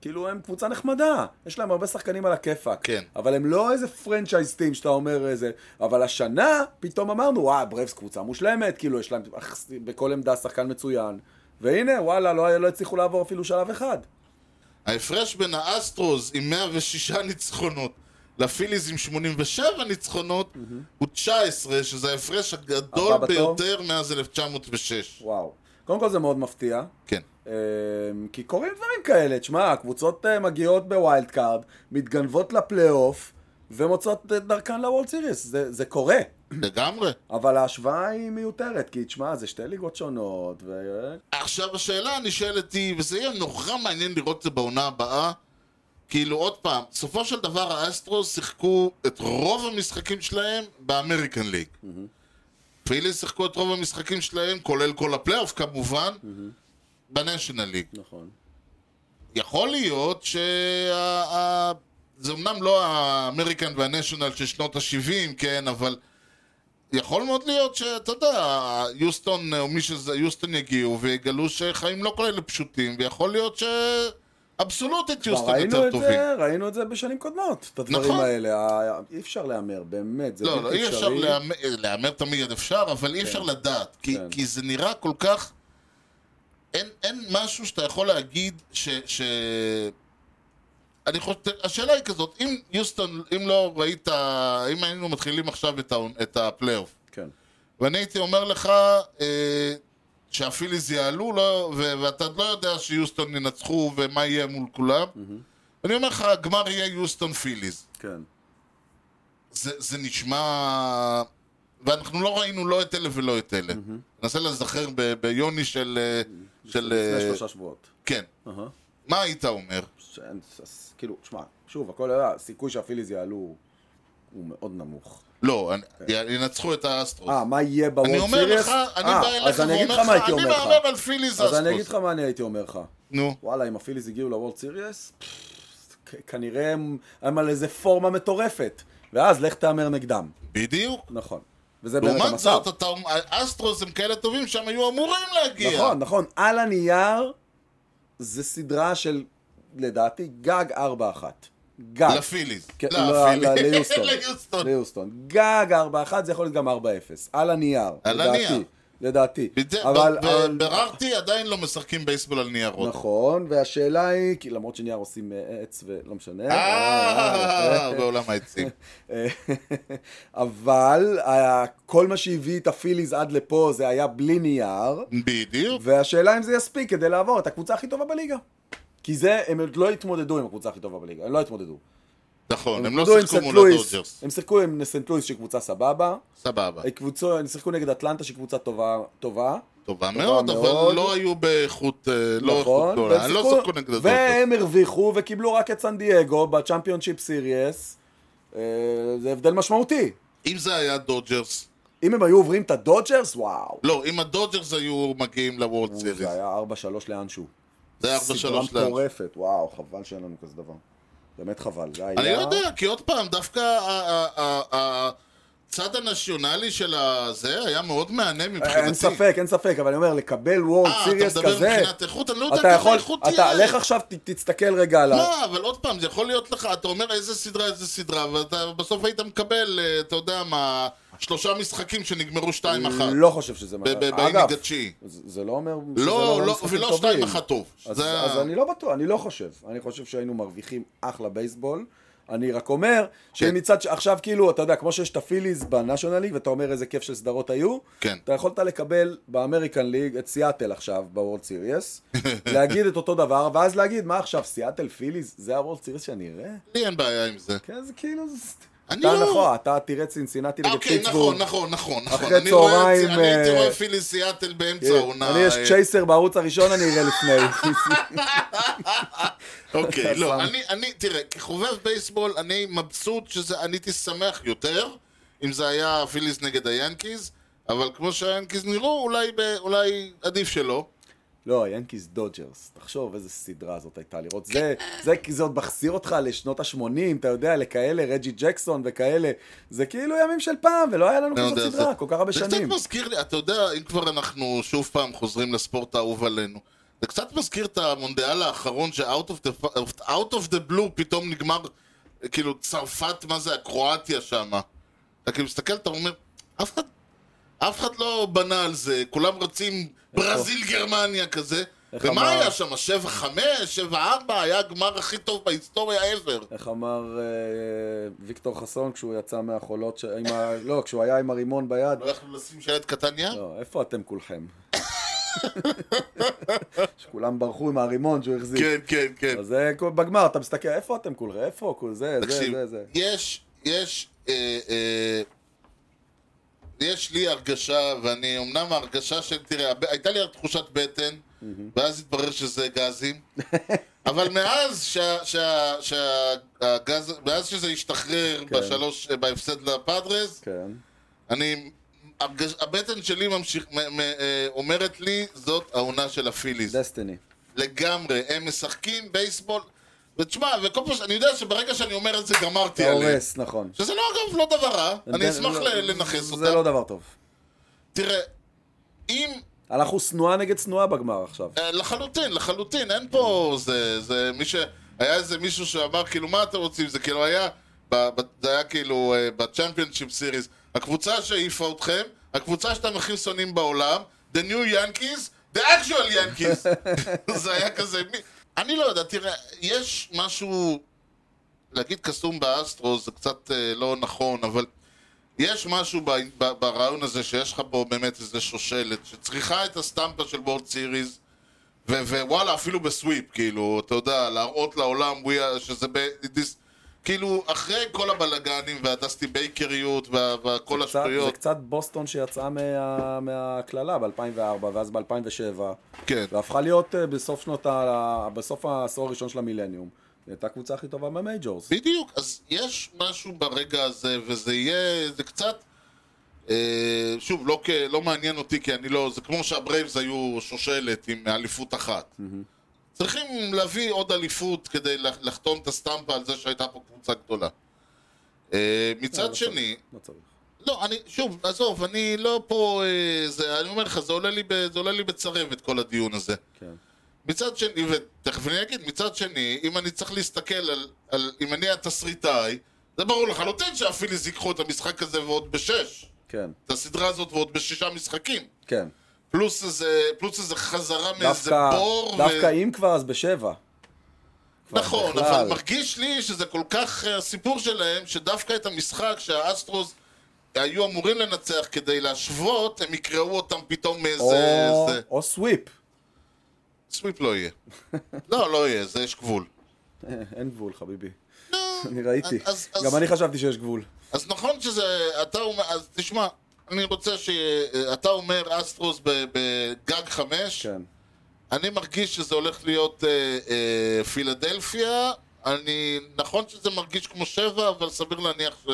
כאילו הם קבוצה נחמדה, יש להם הרבה שחקנים על הכיפאק. כן. אבל הם לא איזה פרנצ'ייז טים שאתה אומר איזה... אבל השנה, פתאום אמרנו, וואה, ברייבס קבוצה מושלמת, כאילו יש להם אח, בכל עמדה שחקן מצוין. והנה, וואלה, לא, לא הצליחו לעבור אפילו שלב אחד. ההפרש בין האסטרוס עם 106 ניצחונות לפיליז עם 87 ניצחונות הוא 19, שזה ההפרש הגדול הבא בתור? ביותר מאז 1906. וואו. קודם כל זה מאוד מפתיע. כן. אמ, כי קורים דברים כאלה, תשמע, הקבוצות אה, מגיעות בווילד קארד, מתגנבות לפלייאוף, ומוצאות את דרכן לוולד סיריס, זה, זה קורה. לגמרי. אבל ההשוואה היא מיותרת, כי תשמע, זה שתי ליגות שונות, ו... עכשיו השאלה הנשאלת היא, וזה יהיה נורא מעניין לראות את זה בעונה הבאה, כאילו עוד פעם, בסופו של דבר האסטרוס שיחקו את רוב המשחקים שלהם באמריקן ליג. פילי שיחקו את רוב המשחקים שלהם, כולל כל הפלייאוף כמובן, בניישנל ליג. נכון. יכול להיות שה... ה- זה אמנם לא האמריקן והנשיונל של שנות ה-70, כן, אבל יכול מאוד להיות שאתה יודע, יוסטון או מי שזה, יוסטון יגיעו ויגלו שחיים לא כאלה פשוטים, ויכול להיות שאבסולוטית יוסטון ראינו יותר את טובים. זה, ראינו את זה בשנים קודמות, את הדברים נכון. האלה. ה- אי אפשר להמר, באמת, זה לא, בלתי לא, אי אפשר אפשרי. להמר, להמר תמיד אפשר, אבל אי אפשר לדעת, כי, כן. כי זה נראה כל כך... אין, אין משהו שאתה יכול להגיד ש... ש... אני חושב, השאלה היא כזאת, אם יוסטון, אם לא ראית, אם היינו מתחילים עכשיו את, ה, את הפלייאוף, כן. ואני הייתי אומר לך אה, שהפיליז יעלו, לא, ו, ואתה לא יודע שיוסטון ינצחו ומה יהיה מול כולם, אני אומר לך, הגמר יהיה יוסטון פיליז. כן. זה, זה נשמע... ואנחנו לא ראינו לא את אלה ולא את אלה. ננסה להיזכר ב- ביוני של... אה, של... לפני אה, שלושה שבועות. כן. אהה. מה היית אומר? שאין- אז כאילו, שמע, שוב, הכל היה, הסיכוי שהפיליז יעלו הוא מאוד נמוך. לא, אני- ינצחו את האסטרוס. כן. אה, מה יהיה בוולד אני סיריס? אומר לך, אני אה, בא אליך אז אני אגיד ואומר לך מה לך, הייתי אני אומר לך. מהמר על פיליז אז אני אגיד אסטרוס. לך מה אני הייתי אומר לך. נו, וואלה, אם הפיליז הגיעו לוולד סיריס, כ- כנראה הם הם על איזה פורמה מטורפת. ואז לך תהמר נגדם. בדיוק. נכון. וזה באמת לעומת המצב. זאת, אתה אומר, האסטרוס הם כאלה טובים שהם היו אמורים להגיע. נכון, נכון. על הנייר זה סדרה של, לדעתי, גג 4-1. גג. לפיליז. כן, לא, לא, הפיליז. לא, ליוסטון. ליוסטון. ליוסטון. גג 4-1, זה יכול להיות גם 4-0. על הנייר. על לדעתי, הנייר. לדעתי. בד- אבל... ב- ב- אבל- בררתי, עדיין לא משחקים בייסבול על ניירות. נכון, והשאלה היא, כי למרות שנייר עושים אה, עץ ולא משנה. אה, אה, יפה. בעולם העצים. אבל אה, כל מה שהביא את הפיליז עד לפה זה היה בלי נייר, בדיוק. והשאלה אם זה יספיק כדי לעבור את הקבוצה הכי טובה בליגה. כי זה, הם עוד לא התמודדו עם הקבוצה הכי טובה בליגה, הם לא התמודדו. נכון, הם לא התמודדו עם שיחקו סנט מול לואיס, הדודג'רס. הם שיחקו עם סנט לואיס שהיא קבוצה סבבה, אה, סבבה. קבוצו, הם שיחקו נגד אטלנטה שהיא קבוצה טובה, טובה. טובה מאוד, אבל מאוד. לא היו באיכות, אה, לא איכות נכון, גדולה. והם לא שיחקו- שיחקו נגד הדודג'רס. והם הרוויחו וקיבלו רק את סן דייגו בצ'מפיונשיפ סיריאס. אה, זה הבדל משמעותי. אם זה היה דודג'רס, אם הם היו עוברים את הדודג'רס, וואו. לא, אם הדודג'רס היו מגיעים לוורד סיריס. זה היה 4-3 לאנשהו. זה היה 4-3 סדרה לאן. מטורפת, וואו, חבל שאין לנו כזה דבר. באמת חבל, זה היה... אני לא יודע, כי עוד פעם, דווקא ה- ה- ה- ה- הצד הנשיונלי של הזה היה מאוד מהנה מבחינתי. אין ספק, אין ספק, אבל אני אומר, לקבל וורד אה, אתה סיריאס מדבר כזה, מבחינת איכות? אני לא אתה יודע כמה יכול, איכות אתה, תהיה. לך עכשיו, ת- תסתכל רגע על ה... לא, אבל עוד פעם, זה יכול להיות לך, אתה אומר איזה סדרה, איזה סדרה, ואתה בסוף היית מקבל, אה, אתה יודע מה, שלושה משחקים שנגמרו שתיים אחת. לא חושב שזה מה... ב- ב- אגב, באינינג התשיעי. זה זה לא אומר... שזה לא, לא, משחקים ולא טובים. שתיים אחת טוב. אז, זה זה... ה- אז אני לא בטוח, אני לא חושב. אני חושב שהיינו מרוויחים אחלה בייסבול. אני רק אומר, כן. שמצד ש... עכשיו כאילו, אתה יודע, כמו שיש את הפיליז בנאשונל ליג, ואתה אומר איזה כיף של סדרות היו, כן. אתה יכולת לקבל באמריקן ליג את סיאטל עכשיו, בוורד סיריוס, להגיד את אותו דבר, ואז להגיד, מה עכשיו, סיאטל פיליז, זה הוורד סיריוס שאני אראה? לי אין בעיה עם זה. כן, זה כאילו... זה- אני אתה לא- נכון, אתה תראה צינסינטי נגד אוקיי, פיטסבורג. נכון, נכון, נכון, נכון. אחרי אני רואה את זה- צהריים, אני הייתי אה, רואה פילי סיאטל באמצע כן, העונה. אני יש אה, צ'ייסר בערוץ הראשון, אני אראה לפני. אוקיי, אתה לא, שם. אני, אני, תראה, כחובב בייסבול, אני מבסוט שזה, אני הייתי שמח יותר, אם זה היה הפיליס נגד היאנקיז, אבל כמו שהיאנקיז נראו, אולי, ב, אולי עדיף שלא. לא, היאנקיז דודג'רס. תחשוב איזה סדרה זאת הייתה לראות. זה, זה, זה עוד מחזיר אותך לשנות ה-80, אתה יודע, לכאלה, רג'י ג'קסון וכאלה. זה כאילו ימים של פעם, ולא היה לנו אני יודע, כזאת סדרה, כל כך הרבה זה שנים. קצת מזכיר לי, אתה יודע, אם כבר אנחנו שוב פעם חוזרים לספורט האהוב עלינו, זה קצת מזכיר את המונדיאל האחרון ש-out of the, out of the blue פתאום נגמר, כאילו, צרפת, מה זה, הקרואטיה שמה. אתה כאילו מסתכל, אתה אומר, אף אחד, אף אחד לא בנה על זה, כולם רצים ברזיל-גרמניה כזה. איך ומה אמר- היה שם? 7-5, 7-4, היה הגמר הכי טוב בהיסטוריה ever. איך אמר אה, ויקטור חסון כשהוא יצא מהחולות, ש... עם ה... לא, כשהוא היה עם הרימון ביד? לא יכלו לשים שלט קטן ים? לא, איפה אתם כולכם? שכולם ברחו עם הרימון שהוא החזיק. כן, כן, כן. אז זה כל- בגמר, אתה מסתכל, איפה אתם כולכם? איפה? כל זה, זה, תקשיב, זה, זה. יש, יש, אה, אה, יש לי הרגשה, ואני, אמנם ההרגשה של, תראה, הב- הייתה לי תחושת בטן, ואז התברר שזה גזים, אבל מאז שה- שה- שהגז, מאז שזה השתחרר בשלוש, אה, בהפסד לפאדרס, כן. אני, הרגש- הבטן שלי ממשיך, מ- מ- אה, אומרת לי, זאת העונה של הפיליז. דסטיני. לגמרי, הם משחקים בייסבול. ותשמע, וכל פעם, ש- אני יודע שברגע שאני אומר את זה גמרתי אתה עליהם. הורס, נכון. שזה לא, אגב, לא דבר רע, אני ד- אשמח לא- ל- לנכס זה לא אותם. דבר טוב. תראה, אם... אנחנו שנואה נגד שנואה בגמר עכשיו. אה, לחלוטין, לחלוטין, אין פה... זה... זה מי ש... היה איזה מישהו שאמר, כאילו, מה אתם רוצים? זה כאילו היה... ב- ב- זה היה כאילו בצ'מפיונשיפ סיריס. הקבוצה שהעיפה אתכם, הקבוצה שאתם הכי שונאים בעולם, The New Yankees, The actual Yankees. זה היה כזה... מי... אני לא יודע, תראה, יש משהו... להגיד קסום באסטרו זה קצת אה, לא נכון, אבל יש משהו ב, ב, ברעיון הזה שיש לך פה באמת איזה שושלת שצריכה את הסטמפה של וורד סיריס ו- ווואלה, אפילו בסוויפ, כאילו, אתה יודע, להראות לעולם we are, שזה ב... this, כאילו, אחרי כל הבלגנים והדסטי בייקריות וה- וכל קצת- זה השטויות, קצת בוסטון שיצאה מה- מהקללה ב-2004, ואז ב-2007, כן. והפכה להיות אה, בסוף שנות ה... בסוף העשור הראשון של המילניום. היא הייתה הקבוצה הכי טובה במייג'ורס. בדיוק, אז יש משהו ברגע הזה, וזה יהיה, זה קצת, אה, שוב, לא, כ- לא מעניין אותי, כי אני לא, זה כמו שהברייבס היו שושלת עם אליפות אחת. צריכים להביא עוד אליפות כדי לח- לחתום את הסטמפה על זה שהייתה פה קבוצה גדולה. אה, מצד שני, לא צריך. לא, אני, שוב, עזוב, אני לא פה, אה, זה, אני אומר לך, זה עולה לי, ב- זה עולה לי בצרבת כל הדיון הזה. כן. מצד שני, ותכף אני אגיד, מצד שני, אם אני צריך להסתכל על, על אם אני התסריטאי, זה ברור לחלוטין שהפיליז ייקחו את המשחק הזה ועוד בשש, כן. את הסדרה הזאת ועוד בשישה משחקים. כן. פלוס איזה, פלוס איזה חזרה מאיזה דווקא, בור. דווקא אם כבר, אז בשבע. נכון, בכלל. אבל מרגיש לי שזה כל כך אה, הסיפור שלהם, שדווקא את המשחק שהאסטרוס היו אמורים לנצח כדי להשוות, הם יקראו אותם פתאום מאיזה... או, זה. או סוויפ. סוויפ לא יהיה. לא, לא יהיה, זה יש גבול. אה, אין גבול, חביבי. אני ראיתי. אז- אז- גם אני חשבתי שיש גבול. אז נכון שזה, אתה אומר, אז תשמע, אני רוצה ש... אתה אומר אסטרוס ב- בגג חמש, כן. אני מרגיש שזה הולך להיות אה, אה, פילדלפיה, אני, נכון שזה מרגיש כמו שבע, אבל סביר להניח ש...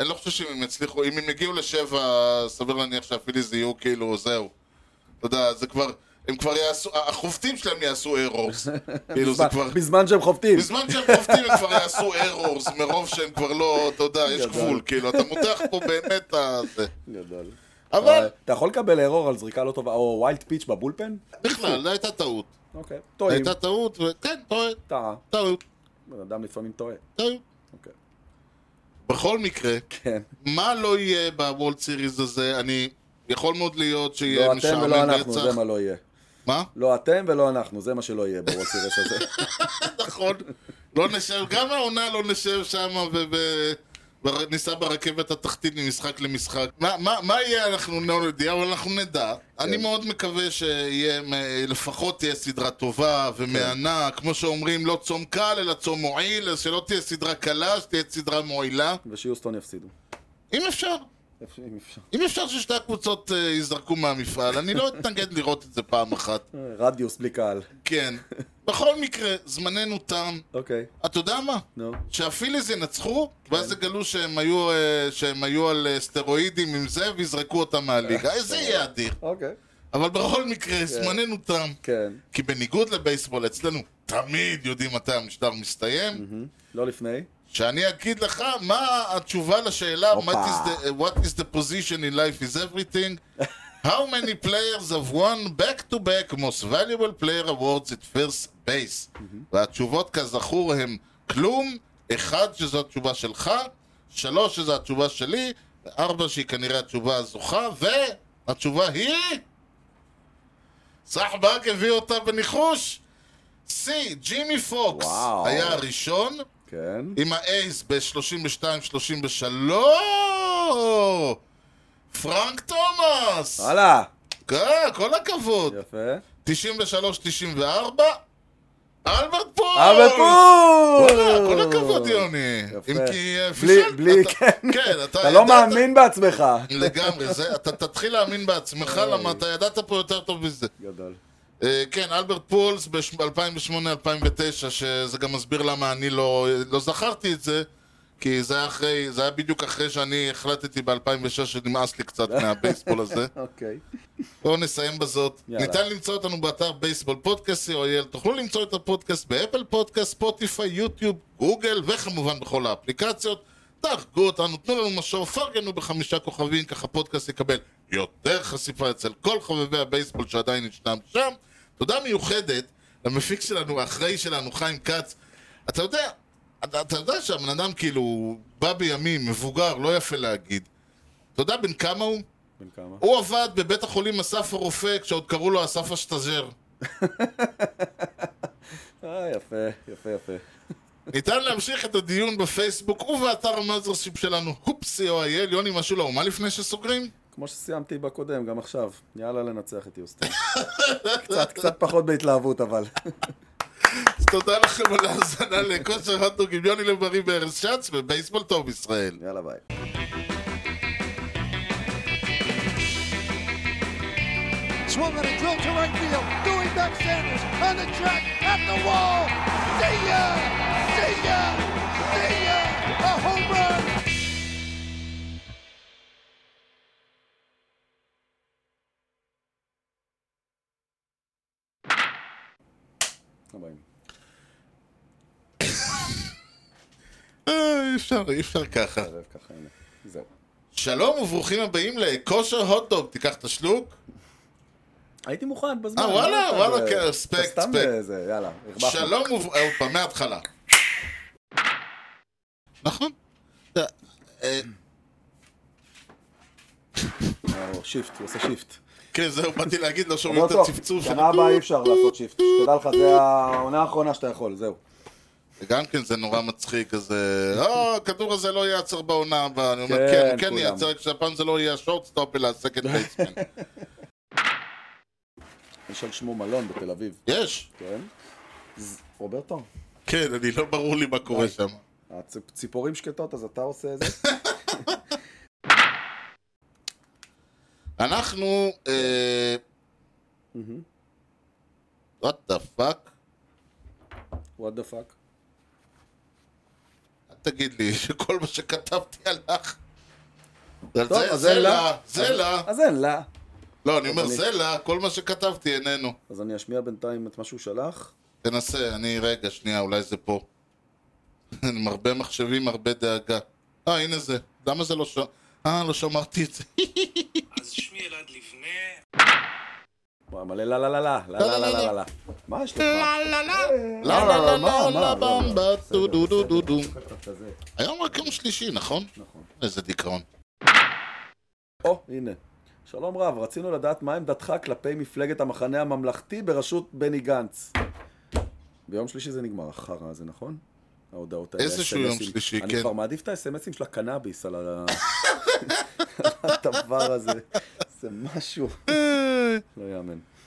אני לא חושב שאם הם יצליחו, אם הם יגיעו לשבע, סביר להניח שהפיליז יהיו כאילו, זהו. אתה יודע, זה כבר, הם כבר יעשו, החובטים שלהם יעשו ארורס. כאילו זה בזמן- כבר... בזמן שהם חובטים. בזמן שהם חובטים הם כבר יעשו ארורס, מרוב שהם כבר לא, אתה יודע, יש גדול. גבול, כאילו, אתה מותח פה באמת ה... זה. גדול. אה, אבל, אתה יכול לקבל ארור על זריקה לא טובה, או ווילד פיץ' בבולפן? בכלל, לא הייתה טעות. אוקיי. טועים. הייתה טעות, וכן, טועה, טעה. טעות, בן אדם לפעמים טועה. טעות. אוקיי. בכל מקרה, כן. מה לא יהיה בוולד סיריז הזה, אני... יכול מאוד להיות שיהיה לא אתם משעמם ולא אנחנו, לרצח. זה מה לא יהיה. מה? לא אתם ולא אנחנו, זה מה שלא יהיה בוולסירס הזה. נכון. לא נשב, גם העונה לא נשב שם ו... ו- בר- ניסע ברכבת התחתית ממשחק למשחק. מה, מה, מה יהיה אנחנו לא יודע, אבל אנחנו נדע. אני מאוד מקווה שיהיה, מ- לפחות תהיה סדרה טובה ומהנה. כמו שאומרים, לא צום קל, אלא צום מועיל, אז שלא תהיה סדרה קלה, שתהיה סדרה מועילה. ושיוסטון יפסידו. אם אפשר. איפה- אם אפשר. אם אפשר ששתי הקבוצות אה, ייזרקו מהמפעל, אני לא אתנגד לראות את זה פעם אחת. אה, רדיוס בלי קהל. כן. בכל מקרה, זמננו תם. אוקיי. אתה יודע מה? נו. שהפיליז ינצחו, ואז יגלו שהם היו, אה, שהם היו על אה, סטרואידים עם זה, ויזרקו אותם מהליגה. אה, זה יהיה אדיר. אוקיי. אבל בכל מקרה, זמננו תם. כן. כי בניגוד לבייסבול, אצלנו תמיד יודעים מתי המשטר מסתיים. לא לפני. שאני אגיד לך מה התשובה לשאלה הופה. what is, the, what is the position in life is everything. How many players have won back-to-back most valuable player awards at first base? Mhm. והתשובות כזכור הן כלום, אחד שזו התשובה שלך, שלוש שזו התשובה שלי, ארבע שהיא כנראה התשובה הזוכה, והתשובה היא... סחבק הביא אותה בניחוש! C, ג'ימי פוקס וואו. היה הראשון, כן. עם האייס ב-32-33! פרנק תומאס! וואלה. אה, כל הכבוד. יפה. 93-94, אלברט פול! אבל פול! וואלה, אה, כל הכבוד, יוני. יפה. אם כי אה, בלי- פישלת. בלי, אתה- כן. כן, אתה אתה לא ידעת- מאמין בעצמך. לגמרי, זה- אתה תתחיל להאמין בעצמך, למה אתה ידעת פה יותר טוב מזה. גדול. אה, כן, אלברט פולס ב-2008-2009, שזה גם מסביר למה אני לא, לא זכרתי את זה, כי זה היה, אחרי, זה היה בדיוק אחרי שאני החלטתי ב-2006 שנמאס לי קצת מהבייסבול הזה. אוקיי. בואו נסיים בזאת. יאללה. יאללה. ניתן למצוא אותנו באתר בייסבול פודקאסט או.אל. תוכלו למצוא את הפודקאסט באפל פודקאסט, ספוטיפיי, יוטיוב, גוגל, וכמובן בכל האפליקציות. תהרגו אותנו, תנו לנו משוב, פרגנו בחמישה כוכבים, ככה הפודקאסט יקבל יותר חשיפה אצל כל חובבי הבייסבול שעדיין ישנם שם. תודה מיוחדת למפיק שלנו, האחראי שלנו, חיים כץ. אתה יודע, אתה, אתה יודע שהבן אדם כאילו בא בימים, מבוגר, לא יפה להגיד. אתה יודע בן כמה הוא? בן כמה? הוא עבד בבית החולים אסף הרופא כשעוד קראו לו אסף השטז'ר. אה, יפה, יפה, יפה. ניתן להמשיך את הדיון בפייסבוק ובאתר המאזרשיפ שלנו, הופסי או אייל, יוני משולו, מה לפני שסוגרים? כמו שסיימתי בקודם, גם עכשיו. יאללה לנצח את יוסטון. קצת, קצת פחות בהתלהבות, אבל. אז תודה לכם על ההאזנה לכושר הטוג עם יוני לב-ארי בארז שץ ובייסבול טוב ישראל. יאללה, ביי. Swung on a drill to right field. Doing back Sanders on the track at the wall. See ya! See ya! See ya! A home run! ביי. אה, אי אפשר, אי אפשר ככה. ערב ככה, הנה. זהו. שלום וברוכים הבאים לכושר הוטדוג, תיקח את השלוק. הייתי מוכן בזמן. אה, וואלה, לא אתה וואלה, ב- כן, הספק, אתה סתם הספק. בזה, יאללה, הרווחנו. שלום וב... אה, עוד פעם, מההתחלה. נכון. אה, אה, או, שיפט, אה, הוא עושה שיפט. כן, זהו, באתי להגיד, לא שומעים מאוד את טוב, הצפצוף של... שנה הבאה אי אפשר לעשות שיפט. תדע לך, זה העונה האחרונה שאתה יכול, זהו. גם כן זה נורא מצחיק, אז... אה, "אה, הכדור הזה לא ייעצר בעונה הבאה. אני אומר, כן, הוא כן כולם. ייעצר, רק שהפעם זה לא יהיה השורטסטופ, אלא הסקנד בייסמן. יש על שמו מלון בתל אביב, יש. כן? ז- רוברטו, כן, אני לא ברור לי מה קורה שם. הצ- ציפורים שקטות, אז אתה עושה את זה? אנחנו... אה, Mhm. what the fuck? וואט דה פאק. אל תגיד לי שכל מה שכתבתי הלך. על טוב, זה- אז זה אין לה. לה, זה לה. אז אין, לה. לא, אני אומר אני- זה לה, כל מה שכתבתי איננו. אז אני אשמיע בינתיים את מה שהוא שלח. תנסה, אני... רגע, שנייה, אולי זה פה. עם הרבה מחשבים, הרבה דאגה. אה, הנה זה. למה זה לא ש... אה, לא שמרתי את זה. אז שמי אלעד לבנה, וואי, מלא לה לה לה לה, לה לה לה לה לה. מה יש לך? לא, לא, לא, מה, לא, מה, לא, לא, במבה, לא. דו, דו, דו, בסדר, דו, דו. בסדר, אתה זה. היום רק יום שלישי, נכון? נכון. איזה דיכאון. או, הנה. שלום רב, רצינו לדעת מה עמדתך כלפי מפלגת המחנה הממלכתי בראשות בני גנץ. ביום שלישי זה נגמר, החרא הזה, נכון? ההודעות האלה, איזשהו ה-SMS-ים. יום שלישי, אני כן. כבר מעדיף את האס.אם.אסים של הקנאביס על ה- אה. הדבר הזה. זה משהו, לא יאמן.